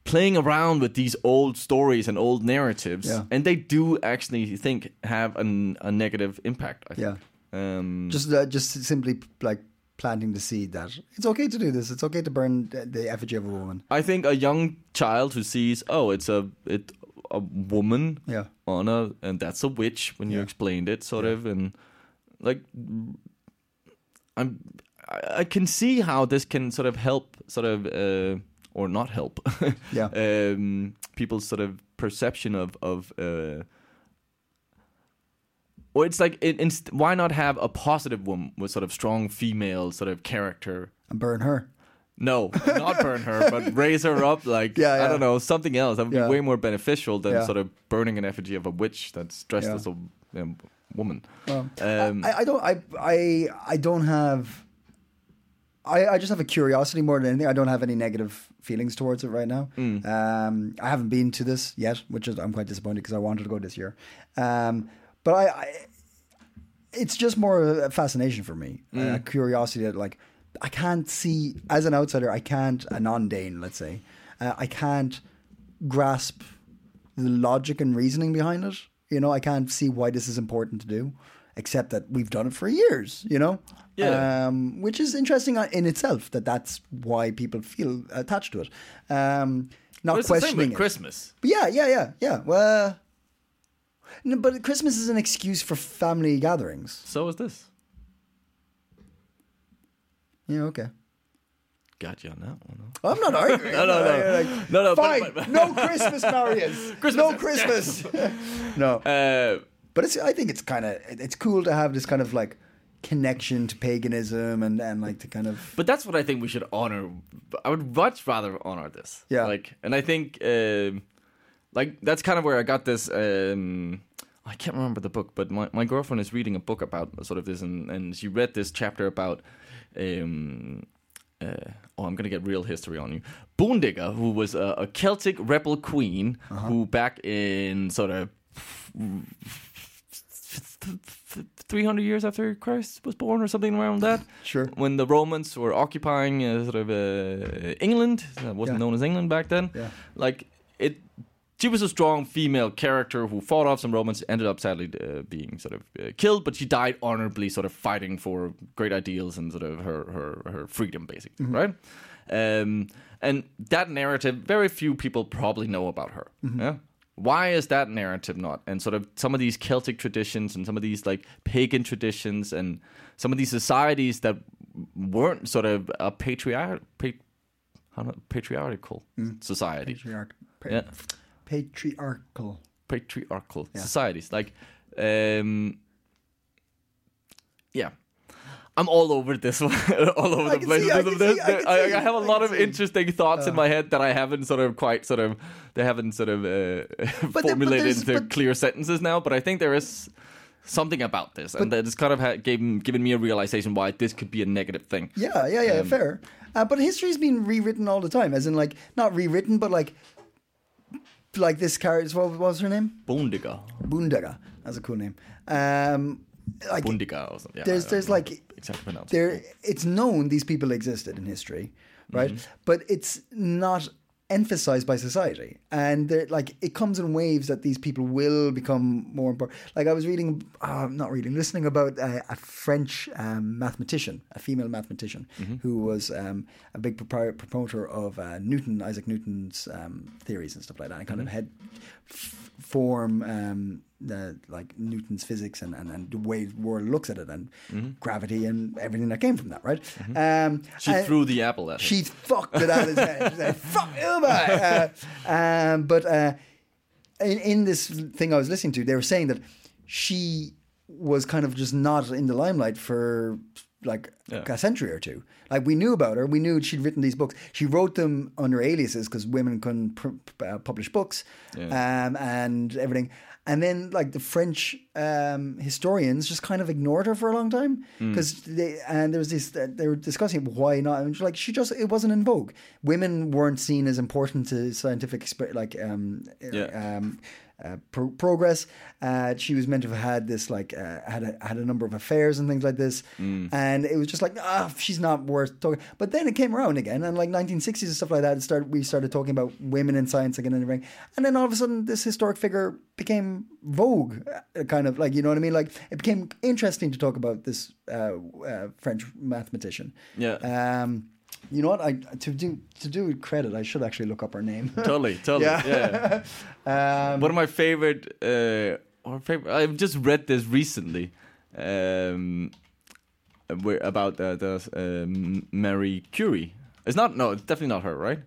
[SPEAKER 2] playing around with these old stories and old narratives,
[SPEAKER 3] Yeah.
[SPEAKER 2] and they do actually think have an, a negative impact. I think. Yeah. Um,
[SPEAKER 3] just uh, just simply like planting the seed that it's okay to do this. It's okay to burn the- the effigy of a woman.
[SPEAKER 2] I think a young child who sees, oh, it's a it a woman
[SPEAKER 3] Yeah.
[SPEAKER 2] on a and that's a witch when you
[SPEAKER 3] Yeah.
[SPEAKER 2] explained it sort of and like I'm I, I can see how this can sort of help sort of uh, or not help
[SPEAKER 3] Yeah.
[SPEAKER 2] um people's sort of perception of of uh or it's like it, inst- why not have a positive woman with sort of strong female sort of character
[SPEAKER 3] and burn her.
[SPEAKER 2] no, not burn her, but raise her up like
[SPEAKER 3] Yeah, yeah.
[SPEAKER 2] I don't know something else that would
[SPEAKER 3] Yeah.
[SPEAKER 2] be way more beneficial than
[SPEAKER 3] Yeah.
[SPEAKER 2] sort of burning an effigy of a witch that's dressed
[SPEAKER 3] Yeah.
[SPEAKER 2] as a um, woman. um,
[SPEAKER 3] I, I don't. I, I I don't have. I, I just have a curiosity more than anything. I don't have any negative feelings towards it right now. Um, I haven't been to this yet, which is I'm quite disappointed because I wanted to go this year. Um, but I, I, it's just more of a fascination for me, a curiosity that like I can't see as an outsider. I can't a non-Dane, let's say, uh, I can't grasp the logic and reasoning behind it. You know, I can't see why this is important to do, except that we've done it for years. You know,
[SPEAKER 2] Yeah.
[SPEAKER 3] um, which is interesting on- in itself that that's why people feel attached to it. Um, not
[SPEAKER 2] But it's the same
[SPEAKER 3] questioning
[SPEAKER 2] with
[SPEAKER 3] it.
[SPEAKER 2] Christmas.
[SPEAKER 3] But yeah, yeah, yeah, yeah. Well, no, but Christmas is an excuse for family gatherings.
[SPEAKER 2] So is this.
[SPEAKER 3] Yeah, okay.
[SPEAKER 2] Got you on that one. Though.
[SPEAKER 3] I'm not arguing. no,
[SPEAKER 2] no, no. No, no, but-
[SPEAKER 3] Fine.
[SPEAKER 2] but-
[SPEAKER 3] no Christmas, Marius. no Christmas. no.
[SPEAKER 2] Uh,
[SPEAKER 3] But it's. I think it's kind of. It's cool to have this kind of like connection to paganism and and like to kind of.
[SPEAKER 2] but that's what I think we should honor. I would much rather honor this.
[SPEAKER 3] Yeah.
[SPEAKER 2] Like, and I think, um, like, that's kind of where I got this. Um, I can't remember the book, but my, my girlfriend is reading a book about sort of this, and, and she read this chapter about. Um, uh, oh, I'm gonna get real history on you. Boondigga, who was a, a Celtic rebel queen,
[SPEAKER 3] Uh-huh.
[SPEAKER 2] who back in sort of 300 years after Christ was born or something around that.
[SPEAKER 3] Sure.
[SPEAKER 2] When the Romans were occupying uh, sort of uh, England, that wasn't
[SPEAKER 3] Yeah.
[SPEAKER 2] known as England back then.
[SPEAKER 3] Yeah.
[SPEAKER 2] Like it she was a strong female character who fought off some Romans, ended up sadly uh, being sort of uh, killed, but she died honorably, sort of fighting for great ideals and sort of her her, her freedom, basically, right? Um, and that narrative, very few people probably know about her. Yeah? Why is that narrative not? And sort of some of these Celtic traditions and some of these like pagan traditions and some of these societies that weren't sort of a patriarch, pa- how not, patriarchal society
[SPEAKER 3] Patriarch, pa-
[SPEAKER 2] Yeah.
[SPEAKER 3] Patriarchal.
[SPEAKER 2] patriarchal societies. Like, um, yeah, I'm all over this one, all
[SPEAKER 3] I
[SPEAKER 2] over the
[SPEAKER 3] can
[SPEAKER 2] place.
[SPEAKER 3] see, I can
[SPEAKER 2] with this.
[SPEAKER 3] see, I can
[SPEAKER 2] I,
[SPEAKER 3] see,
[SPEAKER 2] I have a
[SPEAKER 3] I
[SPEAKER 2] lot
[SPEAKER 3] can
[SPEAKER 2] of
[SPEAKER 3] see.
[SPEAKER 2] interesting thoughts in my head that I haven't sort of quite sort of they haven't sort of uh,
[SPEAKER 3] but
[SPEAKER 2] formulated
[SPEAKER 3] there's-
[SPEAKER 2] into
[SPEAKER 3] but-
[SPEAKER 2] clear sentences now. But I think there is. Something about this, and that it's kind of ha- gave, given me a realization why this could be a negative thing.
[SPEAKER 3] Yeah, yeah, yeah, fair. Uh, but history's been rewritten all the time, as in like not rewritten, but like like this character. What was her name?
[SPEAKER 2] Bundiga,
[SPEAKER 3] Bundaga. That's a cool name. Um, like
[SPEAKER 2] Bundiga, or something. Yeah, I
[SPEAKER 3] there's
[SPEAKER 2] don't
[SPEAKER 3] there's
[SPEAKER 2] know
[SPEAKER 3] like
[SPEAKER 2] exactly pronounced.
[SPEAKER 3] there it's known these people existed in history, right? But it's not emphasized by society, and they're like it comes in waves that these people will become more important. Like I was reading, uh, not reading, listening about uh, a French um, mathematician, a female mathematician, who was um, a big propri- promoter of uh, Newton, Isaac Newton's um, theories and stuff like that, and kind of had f- form um, the like Newton's physics and, and, and the way the world looks at it and
[SPEAKER 2] Mm-hmm.
[SPEAKER 3] gravity and everything that came from that, right? Um,
[SPEAKER 2] she
[SPEAKER 3] and-
[SPEAKER 2] threw the apple at him.
[SPEAKER 3] she fucked it out of his head. She said, "Fuck Uber." Uh, um, but uh, in, in this thing I was listening to, they were saying that she was kind of just not in the limelight for like a century or two. Like we knew about her, we knew she'd written these books. She wrote them under aliases because women couldn't pr- p- uh, publish books um, and everything. And then, like the French um, historians, just kind of ignored her for a long time because they and there was this uh, they were discussing why not. And she- like she just it wasn't in vogue. Women weren't seen as important to scientific exper- like um,
[SPEAKER 2] Yeah.
[SPEAKER 3] um, uh, pro- progress. Uh, she was meant to have had this like uh, had a, had a number of affairs and things like this, and it was just like ah, she's not worth talking. But then it came around again, and like 1960s and stuff like that. It started we started talking about women in science again and everything, and then all of a sudden this historic figure became vogue, uh, kind of like you know what I mean. Like it became interesting to talk about this uh, uh, French mathematician.
[SPEAKER 2] Yeah.
[SPEAKER 3] Um, you know what? I to do to do it credit, I should actually look up her name.
[SPEAKER 2] totally, totally.
[SPEAKER 3] Yeah.
[SPEAKER 2] yeah.
[SPEAKER 3] um,
[SPEAKER 2] One of my favorite, uh, or favorite. I've just read this recently, um, where, about uh, the um Marie Curie. It's not. No, it's definitely not her, right?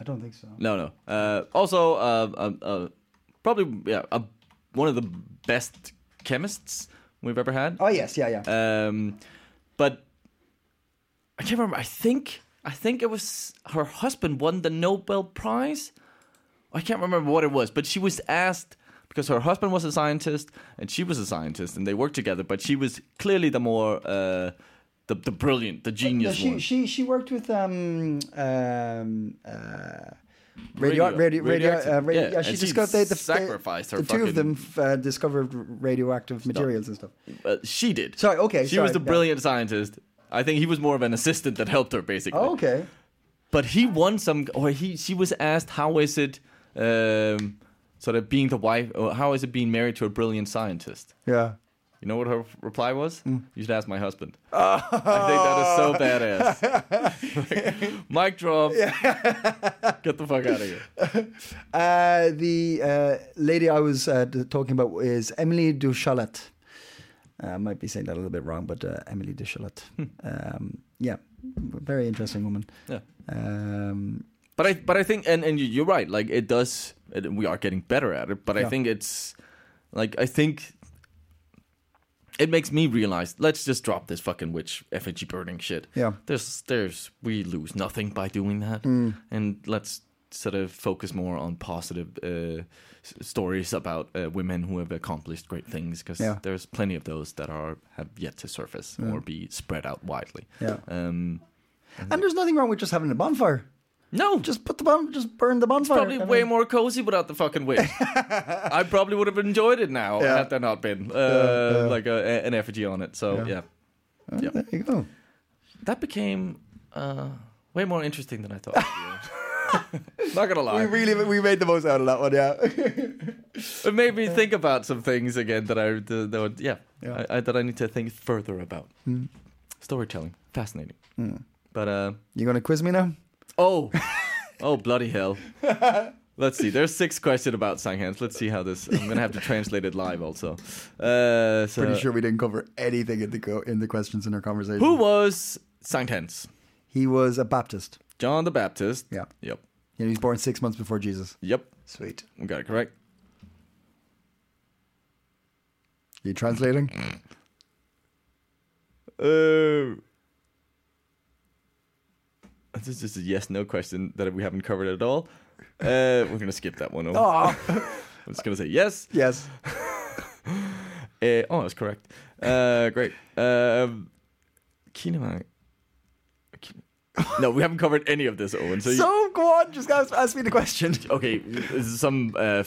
[SPEAKER 3] I don't think so.
[SPEAKER 2] No, no. Uh, also, uh, uh, uh, probably yeah, uh, one of the best chemists we've ever had.
[SPEAKER 3] Oh yes, yeah, yeah.
[SPEAKER 2] Um, but I can't remember. I think I think it was her husband won the Nobel Prize. I can't remember what it was, but she was asked because her husband was a scientist and she was a scientist, and they worked together. But she was clearly the more uh, the the brilliant, the
[SPEAKER 3] No,
[SPEAKER 2] genius
[SPEAKER 3] she,
[SPEAKER 2] one.
[SPEAKER 3] she she worked with um um uh radio
[SPEAKER 2] Radio-
[SPEAKER 3] radio radio,
[SPEAKER 2] radioactive.
[SPEAKER 3] uh, radio
[SPEAKER 2] Yeah,
[SPEAKER 3] yeah,
[SPEAKER 2] and
[SPEAKER 3] she
[SPEAKER 2] she
[SPEAKER 3] discovered they the,
[SPEAKER 2] sacrificed her
[SPEAKER 3] the two of them
[SPEAKER 2] fucking-
[SPEAKER 3] f- uh, discovered radioactive materials and stuff
[SPEAKER 2] Uh, she did.
[SPEAKER 3] Sorry, okay,
[SPEAKER 2] She
[SPEAKER 3] sorry,
[SPEAKER 2] was the
[SPEAKER 3] yeah.
[SPEAKER 2] brilliant scientist. I think he was more of an assistant that helped her, basically.
[SPEAKER 3] oh, okay
[SPEAKER 2] but he won some or he she was asked how is it um sort of being the wife. oh, How is it being married to a brilliant scientist?
[SPEAKER 3] Yeah.
[SPEAKER 2] You know what her reply was? You should ask my husband. I think that is so badass. like, mic drop. Get the fuck out of here.
[SPEAKER 3] Uh, the uh, lady I was uh, t- talking about is Emily du Chalet. Uh, I might be saying that a little bit wrong, but uh, Emily du Chalet.
[SPEAKER 2] Hmm.
[SPEAKER 3] Um, yeah, very interesting woman.
[SPEAKER 2] Yeah.
[SPEAKER 3] Um,
[SPEAKER 2] But I but I think and and you- you're right. Like it does. It, we are getting better at it. But I
[SPEAKER 3] Yeah.
[SPEAKER 2] think it's like I think it makes me realize. Let's just drop this fucking witch effigy burning shit.
[SPEAKER 3] Yeah.
[SPEAKER 2] There's there's we lose nothing by doing that.
[SPEAKER 3] Hmm.
[SPEAKER 2] And let's sort of focus more on positive uh, s- stories about uh, women who have accomplished great things because
[SPEAKER 3] Yeah. Hmm.
[SPEAKER 2] there's plenty of those that are have yet to surface or be spread out widely.
[SPEAKER 3] Yeah.
[SPEAKER 2] Um,
[SPEAKER 3] and there's nothing wrong with just having a bonfire.
[SPEAKER 2] no,
[SPEAKER 3] Just put the bon, just burn the bonfire.
[SPEAKER 2] probably
[SPEAKER 3] I
[SPEAKER 2] way
[SPEAKER 3] mean,
[SPEAKER 2] more cozy without the fucking witch. I probably would have enjoyed it now
[SPEAKER 3] Yeah.
[SPEAKER 2] had there not been uh, like a, a- an effigy on it. So yeah,
[SPEAKER 3] There you go.
[SPEAKER 2] that became uh, way more interesting than I thought. not gonna lie,
[SPEAKER 3] really we made the most out of that one. Yeah.
[SPEAKER 2] it made me think about some things again that I that, that would- yeah,
[SPEAKER 3] Yeah. Hmm.
[SPEAKER 2] I, I, that I need to think further about. Storytelling, fascinating. But uh,
[SPEAKER 3] you gonna quiz me now?
[SPEAKER 2] oh, oh bloody hell. Let's see. There's six questions about Sanghans. Let's see how this. I'm gonna have to translate it live also. Uh, so,
[SPEAKER 3] Pretty sure we didn't cover anything in the co- in the questions in our conversation.
[SPEAKER 2] Who was Sankt Hans?
[SPEAKER 3] He was a Baptist.
[SPEAKER 2] John the Baptist.
[SPEAKER 3] Yeah.
[SPEAKER 2] Yep.
[SPEAKER 3] You know, he was born six months before Jesus.
[SPEAKER 2] Yep.
[SPEAKER 3] Sweet.
[SPEAKER 2] We got it correct.
[SPEAKER 3] Are you translating?
[SPEAKER 2] Uh, this is just a yes no question that we haven't covered at all. Uh, we're going to skip that one. over.
[SPEAKER 3] oh,
[SPEAKER 2] I'm just going to say yes.
[SPEAKER 3] yes.
[SPEAKER 2] Uh, oh, that's correct. Uh, great. Um, Kinema. Kin- No, we haven't covered any of this, Owen. So, you-
[SPEAKER 3] So go on, just ask, ask me the question.
[SPEAKER 2] okay, this is some uh,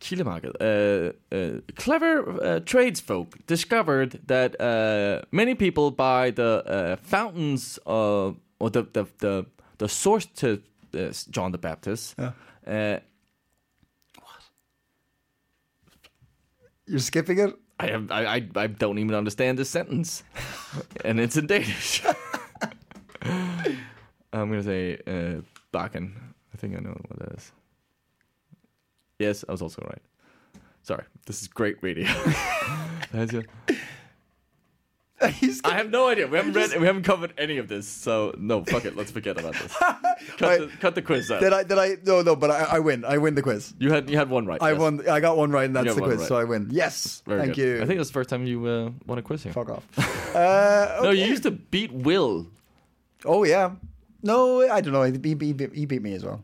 [SPEAKER 2] Kielemarket. Uh, uh, clever uh, tradesfolk discovered that uh, many people buy the uh, fountains of, or the, the, the, the source to uh, John the Baptist. Uh,
[SPEAKER 3] You're skipping it.
[SPEAKER 2] I, have, I, I, I don't even understand this sentence. and it's in Danish. I'm going to say uh, Bakken. I think I know what that is. Yes, I was also right. Sorry, this is great radio. That's it.
[SPEAKER 3] You skip-
[SPEAKER 2] I have no idea. We haven't read. We haven't covered any of this. So no, fuck it. Let's forget about this. Cut, the, cut the quiz out.
[SPEAKER 3] Did I? Did I? No, no. But I, I win. I win the quiz.
[SPEAKER 2] you had you had one right.
[SPEAKER 3] I
[SPEAKER 2] yes.
[SPEAKER 3] won. I got one right, and that's
[SPEAKER 2] got
[SPEAKER 3] the
[SPEAKER 2] one
[SPEAKER 3] quiz,
[SPEAKER 2] right.
[SPEAKER 3] so I win. Yes.
[SPEAKER 2] Very
[SPEAKER 3] Thank
[SPEAKER 2] good.
[SPEAKER 3] you.
[SPEAKER 2] I think that's the first time you uh, won a quiz here.
[SPEAKER 3] Fuck off. uh,
[SPEAKER 2] No,
[SPEAKER 3] okay.
[SPEAKER 2] you used to beat Will.
[SPEAKER 3] Oh yeah. No, I don't know. He, he, he, beat- he beat me as well.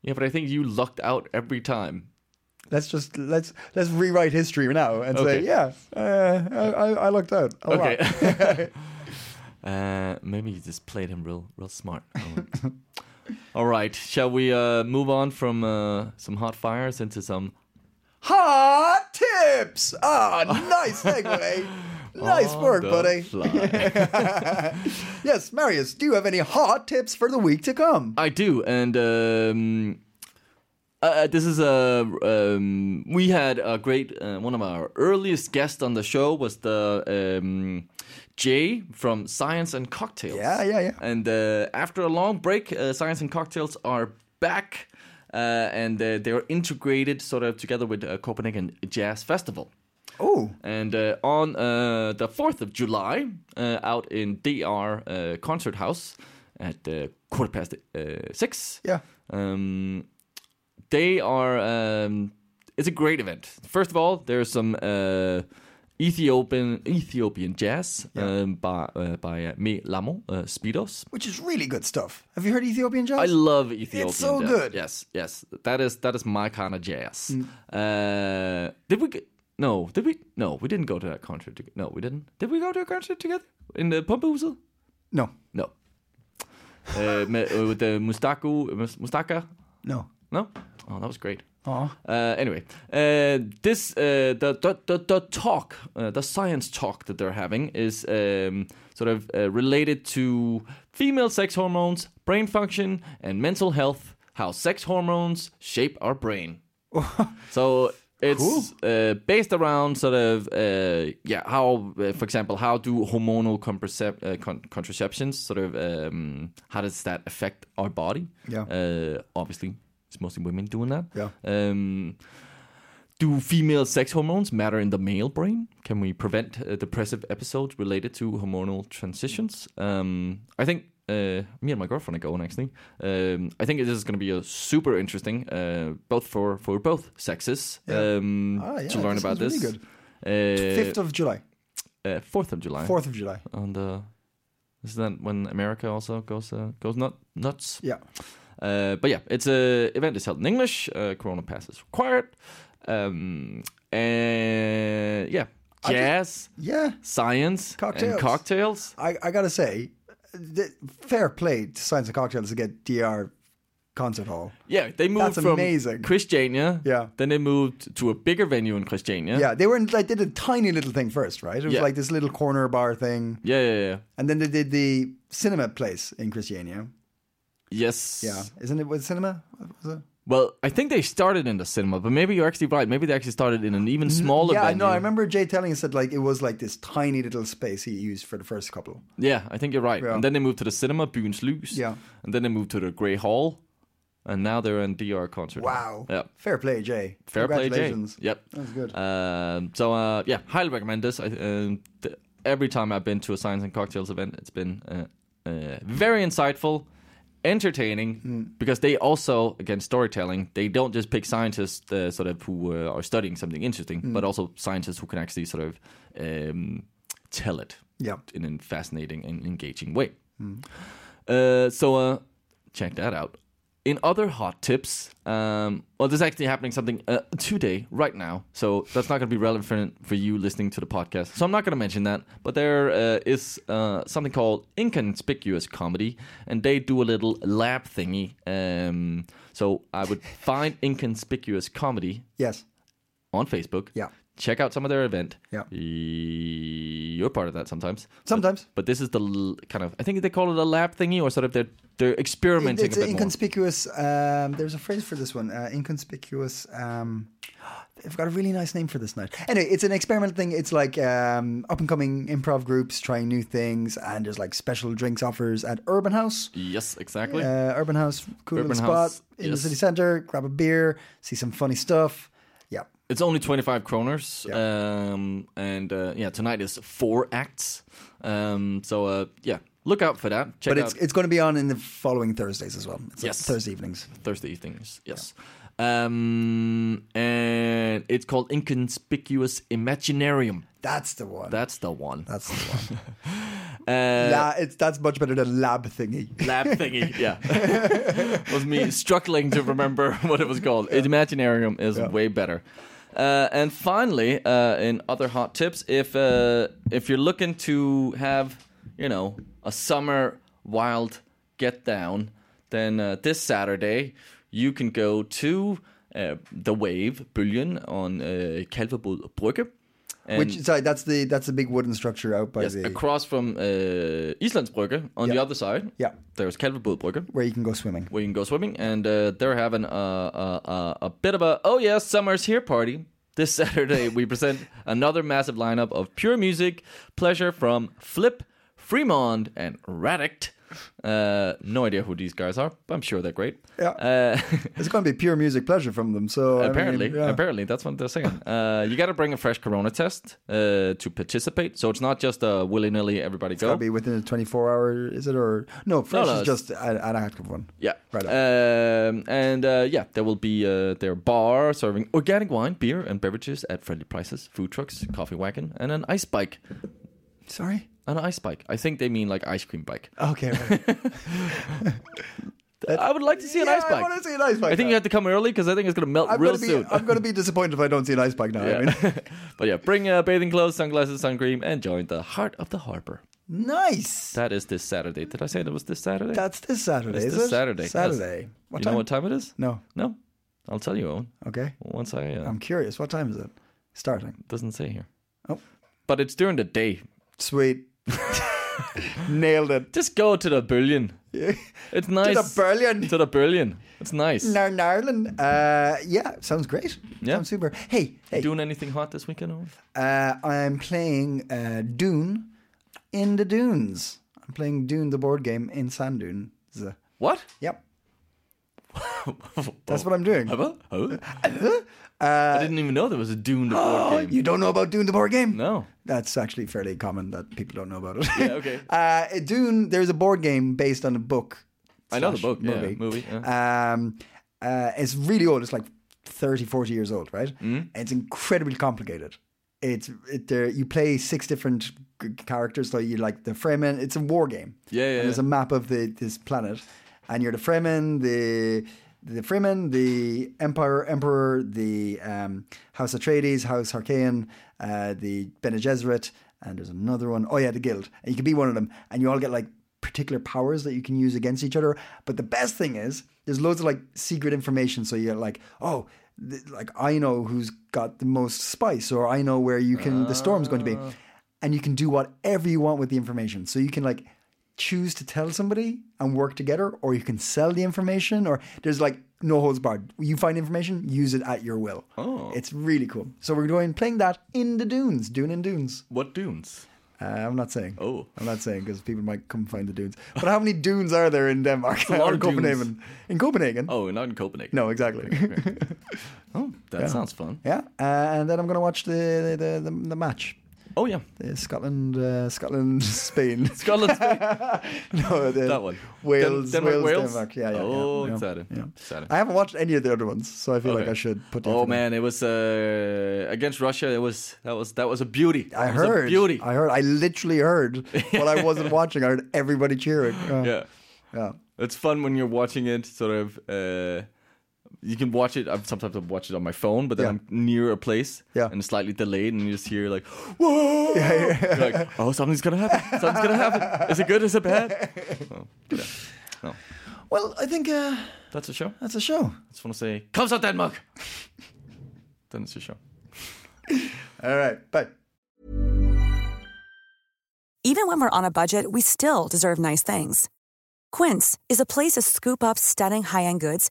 [SPEAKER 2] Yeah, but I think you lucked out every time.
[SPEAKER 3] Let's just let's let's rewrite history now and
[SPEAKER 2] Okay.
[SPEAKER 3] say yeah. Uh, I, I, I lucked out. A lot.
[SPEAKER 2] Okay. uh, maybe you just played him real, real smart. Owen. All right, shall we uh, move on from uh, some hot fires into some?
[SPEAKER 3] Hot tips. Ah, nice segue. nice
[SPEAKER 2] on
[SPEAKER 3] work,
[SPEAKER 2] Oh, the
[SPEAKER 3] buddy.
[SPEAKER 2] fly?
[SPEAKER 3] Yes, Marius. Do you have any hot tips for the week to come?
[SPEAKER 2] I do, and um, uh, this is a um, we had a great uh, one of our earliest guests on the show was the um, Jay from Science and Cocktails.
[SPEAKER 3] Yeah, yeah, yeah.
[SPEAKER 2] And uh, after a long break, uh, Science and Cocktails are back, uh, and uh, they are integrated sort of together with uh, Copenhagen Jazz Festival.
[SPEAKER 3] Oh,
[SPEAKER 2] And uh, on uh, the 4th of July, uh, out in DR uh, Concert House at uh, quarter past uh, six,
[SPEAKER 3] yeah.
[SPEAKER 2] um, they are. Um, it's a great event. First of all, there's some uh, Ethiopian Ethiopian jazz um, by uh, by uh, Me Lamo uh, Speedos.
[SPEAKER 3] Which is really good stuff. Have you heard Ethiopian jazz?
[SPEAKER 2] I love Ethiopian.
[SPEAKER 3] so
[SPEAKER 2] jazz.
[SPEAKER 3] good. Mm.
[SPEAKER 2] Yes, yes. That is that is my kind of jazz. Uh, did we? Get, no, did we? No, we didn't go to that concert. To, no, we didn't. Did we go to a concert together in the Pumpuzel?
[SPEAKER 3] no,
[SPEAKER 2] No. uh, me- uh, with the Mustaku Mus- Mustaka.
[SPEAKER 3] no.
[SPEAKER 2] No. Oh, that was great.
[SPEAKER 3] Aw.
[SPEAKER 2] Uh, anyway, uh, this uh, the, the the the talk, uh, the science talk that they're having is um, sort of uh, related to female sex hormones, brain function, and mental health. How sex hormones shape our brain. so it's uh, based around sort of uh, yeah how uh, for example how do hormonal contracep- uh, con- contraceptions sort of um, how does that affect our body?
[SPEAKER 3] Yeah.
[SPEAKER 2] Uh, obviously, it's mostly women doing that.
[SPEAKER 3] Yeah.
[SPEAKER 2] Um, do female sex hormones matter in the male brain? Can we prevent uh, depressive episodes related to hormonal transitions? Um, I think uh, me and my girlfriend are going actually. Um, I think this is going to be a super interesting, uh, both for for both sexes,
[SPEAKER 3] Yeah.
[SPEAKER 2] um,
[SPEAKER 3] Ah, yeah,
[SPEAKER 2] to learn
[SPEAKER 3] that
[SPEAKER 2] about
[SPEAKER 3] sounds
[SPEAKER 2] this.
[SPEAKER 3] really
[SPEAKER 2] Uh,
[SPEAKER 3] Fifth of July,
[SPEAKER 2] uh, Fourth of July.
[SPEAKER 3] fourth of July.
[SPEAKER 2] on the. Is that when America also goes uh, goes nut, nuts?
[SPEAKER 3] Yeah,
[SPEAKER 2] Uh, but yeah, it's a event is held in English. Uh, corona pass is required. Um, and yeah,
[SPEAKER 3] I
[SPEAKER 2] jazz,
[SPEAKER 3] yeah.
[SPEAKER 2] science,
[SPEAKER 3] Cocktails.
[SPEAKER 2] and cocktails.
[SPEAKER 3] I, I gotta say, th- fair play to Science and Cocktails to get DR Concert Hall.
[SPEAKER 2] Yeah, they moved
[SPEAKER 3] That's
[SPEAKER 2] from
[SPEAKER 3] amazing.
[SPEAKER 2] Christiania.
[SPEAKER 3] Yeah.
[SPEAKER 2] Then they moved to a bigger venue in Christiania.
[SPEAKER 3] Yeah, they were in, like they did a tiny little thing first, right? It was
[SPEAKER 2] Yeah.
[SPEAKER 3] like this little corner bar thing,
[SPEAKER 2] Yeah, yeah, yeah.
[SPEAKER 3] and then they did the cinema place in Christiania.
[SPEAKER 2] Yes.
[SPEAKER 3] Yeah, isn't it with cinema? Was it?
[SPEAKER 2] Well, I think they started in the cinema, but maybe you're actually right. Maybe they actually started in an even smaller
[SPEAKER 3] yeah,
[SPEAKER 2] venue.
[SPEAKER 3] no, I remember Jay telling us that like it was like this tiny little space he used for the first couple.
[SPEAKER 2] Yeah, I think you're right.
[SPEAKER 3] Yeah.
[SPEAKER 2] And then they moved to the cinema, Byens Lys.
[SPEAKER 3] Yeah.
[SPEAKER 2] And then they moved to the Grey Hall. And now they're in DR concert.
[SPEAKER 3] Wow.
[SPEAKER 2] Yeah.
[SPEAKER 3] Fair play, Jay.
[SPEAKER 2] Fair play, Jay.
[SPEAKER 3] Congratulations.
[SPEAKER 2] Yep.
[SPEAKER 3] That's good.
[SPEAKER 2] Um, so uh, yeah, highly recommend this. I, um, th- every time I've been to a science and cocktails event, it's been uh, uh, very insightful, entertaining,
[SPEAKER 3] Hmm.
[SPEAKER 2] because they also again storytelling. They don't just pick scientists uh, sort of who uh, are studying something interesting,
[SPEAKER 3] Hmm.
[SPEAKER 2] but also scientists who can actually sort of um, tell it
[SPEAKER 3] Yeah.
[SPEAKER 2] in a fascinating and engaging way. Uh, so uh, check that out. In other hot tips, um, well, there's actually happening something uh, today, right now. So that's not going to be relevant for you listening to the podcast. So I'm not going to mention that. But there uh, is uh, something called inconspicuous comedy, and they do a little lab thingy. Um, so I would find inconspicuous comedy
[SPEAKER 3] Yes.
[SPEAKER 2] on Facebook.
[SPEAKER 3] Yeah.
[SPEAKER 2] Check out some of their event.
[SPEAKER 3] Yeah.
[SPEAKER 2] Y- You're part of that sometimes.
[SPEAKER 3] Sometimes.
[SPEAKER 2] But this is the l- kind of I think they call it a lab thingy or sort of they're they're experimenting
[SPEAKER 3] It's
[SPEAKER 2] a bit more.
[SPEAKER 3] inconspicuous. Um, there's a phrase for this one. Uh, inconspicuous. Um, they've got a really nice name for this night. Anyway, it's an experimental thing. It's like um, up and coming improv groups trying new things, and there's like special drinks offers at Urban House.
[SPEAKER 2] yes, exactly.
[SPEAKER 3] Uh, Urban House, cool
[SPEAKER 2] Urban
[SPEAKER 3] little
[SPEAKER 2] House,
[SPEAKER 3] spot in
[SPEAKER 2] yes.
[SPEAKER 3] the city center. Grab a beer, see some funny stuff. Yeah.
[SPEAKER 2] it's only 25 kroners.
[SPEAKER 3] Yeah.
[SPEAKER 2] Um and uh, yeah, tonight is four acts. Um so uh yeah, look out for that. Check
[SPEAKER 3] But
[SPEAKER 2] out
[SPEAKER 3] it's it's going to be on in the following Thursdays as well. It's like
[SPEAKER 2] Yes.
[SPEAKER 3] Thursday evenings.
[SPEAKER 2] Thursday evenings. Yes. Um and it's called Inconspicuous Imaginarium.
[SPEAKER 3] That's the one.
[SPEAKER 2] That's the one.
[SPEAKER 3] That's the one.
[SPEAKER 2] Uh,
[SPEAKER 3] La- it's that's much better than lab thingy.
[SPEAKER 2] lab thingy. Yeah, was me struggling to remember what it was called. Imaginarium is way better. Uh, and finally, uh, in other hot tips, if uh, if you're looking to have you know a summer wild get down, then uh, this Saturday you can go to uh, the Wave Bullion on uh, Kalvebod Brygge. And-
[SPEAKER 3] Which sorry, that's the that's the big wooden structure out by
[SPEAKER 2] Yes,
[SPEAKER 3] the
[SPEAKER 2] across from uh, Islandsbrygge on the
[SPEAKER 3] Yeah.
[SPEAKER 2] other side.
[SPEAKER 3] Yeah.
[SPEAKER 2] there's Kalvebod Brygge
[SPEAKER 3] where you can go swimming.
[SPEAKER 2] where you can go swimming, and uh, they're having a, a, a, a bit of a oh yeah summer's here party. This Saturday we present another massive lineup of pure music pleasure from Flip, Fremont, and Radict. Uh, no idea who these guys are, but I'm sure they're great.
[SPEAKER 3] Yeah.
[SPEAKER 2] Uh,
[SPEAKER 3] It's going to be pure music pleasure from them. So I mean,
[SPEAKER 2] apparently,
[SPEAKER 3] yeah.
[SPEAKER 2] apparently that's what they're saying. Uh, you got to bring a fresh Corona test uh, to participate, so it's not just uh, willy nilly everybody go.
[SPEAKER 3] That'll be within a 24 hour, is it? Or no, fresh
[SPEAKER 2] no,
[SPEAKER 3] is
[SPEAKER 2] it's-
[SPEAKER 3] just an an active one.
[SPEAKER 2] Yeah.
[SPEAKER 3] Right on.
[SPEAKER 2] Um, and uh, yeah, there will be uh, their bar serving organic wine, beer, and beverages at friendly prices, food trucks, coffee wagon, and an ice bike.
[SPEAKER 3] Sorry.
[SPEAKER 2] An ice bike. I think they mean like ice cream bike.
[SPEAKER 3] Okay. Right.
[SPEAKER 2] I would like to see an
[SPEAKER 3] yeah,
[SPEAKER 2] ice bike.
[SPEAKER 3] I want to see an ice bike.
[SPEAKER 2] I think you
[SPEAKER 3] now.
[SPEAKER 2] have to come early because I think it's gonna melt
[SPEAKER 3] I'm
[SPEAKER 2] real
[SPEAKER 3] gonna be,
[SPEAKER 2] soon.
[SPEAKER 3] I'm going to be disappointed if I don't see an ice bike now. I
[SPEAKER 2] Yeah.
[SPEAKER 3] mean,
[SPEAKER 2] but yeah, bring uh, bathing clothes, sunglasses, sun cream, and join the heart of the harbor.
[SPEAKER 3] nice.
[SPEAKER 2] That is this Saturday. Did I say that was this Saturday?
[SPEAKER 3] That's this Saturday.
[SPEAKER 2] It's
[SPEAKER 3] is
[SPEAKER 2] this
[SPEAKER 3] it?
[SPEAKER 2] Saturday, yes.
[SPEAKER 3] Saturday. What
[SPEAKER 2] you
[SPEAKER 3] time?
[SPEAKER 2] know what time it is?
[SPEAKER 3] No. Um.
[SPEAKER 2] No, I'll tell you Owen,
[SPEAKER 3] Okay.
[SPEAKER 2] once I. Uh,
[SPEAKER 3] I'm curious. What time is it? Starting.
[SPEAKER 2] doesn't say here.
[SPEAKER 3] Oh.
[SPEAKER 2] But it's during the day.
[SPEAKER 3] Sweet. Nailed it.
[SPEAKER 2] Just go to the billion. It's nice.
[SPEAKER 3] billion.
[SPEAKER 2] To the billion. It's nice.
[SPEAKER 3] Northern Ireland. Uh, yeah, sounds great.
[SPEAKER 2] Yeah.
[SPEAKER 3] Sounds super. Hey, hey.
[SPEAKER 2] Doing anything hot this weekend? Or?
[SPEAKER 3] Uh, I'm playing uh, Dune in the Dunes. I'm playing Dune, the board game, in Sand Dune. Z-
[SPEAKER 2] What?
[SPEAKER 3] Yep.
[SPEAKER 2] Oh.
[SPEAKER 3] That's what I'm doing.
[SPEAKER 2] Huh? Huh?
[SPEAKER 3] Uh,
[SPEAKER 2] I didn't even know there was a Dune to board game.
[SPEAKER 3] You don't know about Dune, the board game?
[SPEAKER 2] No.
[SPEAKER 3] That's actually fairly common that people don't know about it.
[SPEAKER 2] Yeah, okay.
[SPEAKER 3] uh, Dune, there's a board game based on a book.
[SPEAKER 2] I know the
[SPEAKER 3] slash
[SPEAKER 2] book, yeah, movie,
[SPEAKER 3] Um, uh, it's really old. It's like 30, 40 years old, right?
[SPEAKER 2] Mm-hmm.
[SPEAKER 3] It's incredibly complicated. It's it, there. You play six different g- characters, so you like the Fremen. It's a war game.
[SPEAKER 2] Yeah, yeah,
[SPEAKER 3] And there's
[SPEAKER 2] yeah.
[SPEAKER 3] a map of the this planet, and you're the Fremen, the the Fremen, the Empire, Emperor, the um, House Atreides, House Harkonnen, uh, the Bene Gesserit, and there's another one. Oh yeah, the Guild. And you can be one of them, and you all get like particular powers that you can use against each other. But the best thing is there's loads of like secret information. So you're like, oh. th- Like I know who's got the most spice, or I know where you can the storm's going to be, and you can do whatever you want with the information. So you can like choose to tell somebody and work together, or you can sell the information, or there's like no holds barred. You find information, use it at your will. Oh, it's really cool. So we're going playing that in the dunes, dune and dunes.
[SPEAKER 2] What dunes?
[SPEAKER 3] Uh, I'm not saying.
[SPEAKER 2] Oh.
[SPEAKER 3] I'm not saying because people might come find the dunes. But how many dunes are there in Denmark?
[SPEAKER 2] a lot
[SPEAKER 3] Or
[SPEAKER 2] of dunes.
[SPEAKER 3] Copenhagen. In Copenhagen.
[SPEAKER 2] Oh, not in Copenhagen.
[SPEAKER 3] No, exactly.
[SPEAKER 2] Oh, that sounds fun.
[SPEAKER 3] yeah, uh, and then I'm gonna watch the the the, the match.
[SPEAKER 2] Oh yeah,
[SPEAKER 3] Uh, Scotland, uh, Scotland, Spain.
[SPEAKER 2] Scotland.
[SPEAKER 3] no, the-
[SPEAKER 2] that one.
[SPEAKER 3] Wales,
[SPEAKER 2] Den- Denmark,
[SPEAKER 3] Wales,
[SPEAKER 2] Wales?
[SPEAKER 3] Denmark. Yeah, yeah. yeah,
[SPEAKER 2] Oh,
[SPEAKER 3] yeah,
[SPEAKER 2] exciting.
[SPEAKER 3] yeah.
[SPEAKER 2] Exciting.
[SPEAKER 3] I haven't watched any of the other ones, so I feel like
[SPEAKER 2] Okay.
[SPEAKER 3] I should put. down
[SPEAKER 2] Oh
[SPEAKER 3] for them.
[SPEAKER 2] man, it was uh, against Russia. It was that was that was a beauty.
[SPEAKER 3] I
[SPEAKER 2] It was a
[SPEAKER 3] heard.
[SPEAKER 2] beauty.
[SPEAKER 3] I heard. I literally heard while I wasn't watching. I heard everybody cheering. Uh,
[SPEAKER 2] yeah,
[SPEAKER 3] yeah.
[SPEAKER 2] it's fun when you're watching it. Sort of, uh, you can watch it. I'm sometimes I watch it on my phone, but then
[SPEAKER 3] Yeah.
[SPEAKER 2] I'm near a place
[SPEAKER 3] Yeah.
[SPEAKER 2] and slightly delayed, and you just hear like, whoa! You're like, oh, something's gonna happen. Something's gonna happen. Is it good? Is it bad? Oh, yeah. No,
[SPEAKER 3] Well, I think uh,
[SPEAKER 2] that's a show. I
[SPEAKER 3] that's a show.
[SPEAKER 2] just want to say, comes out Denmark. then it's a show.
[SPEAKER 3] All right. Bye.
[SPEAKER 4] Even when we're on a budget, we still deserve nice things. Quince is a place to scoop up stunning high end goods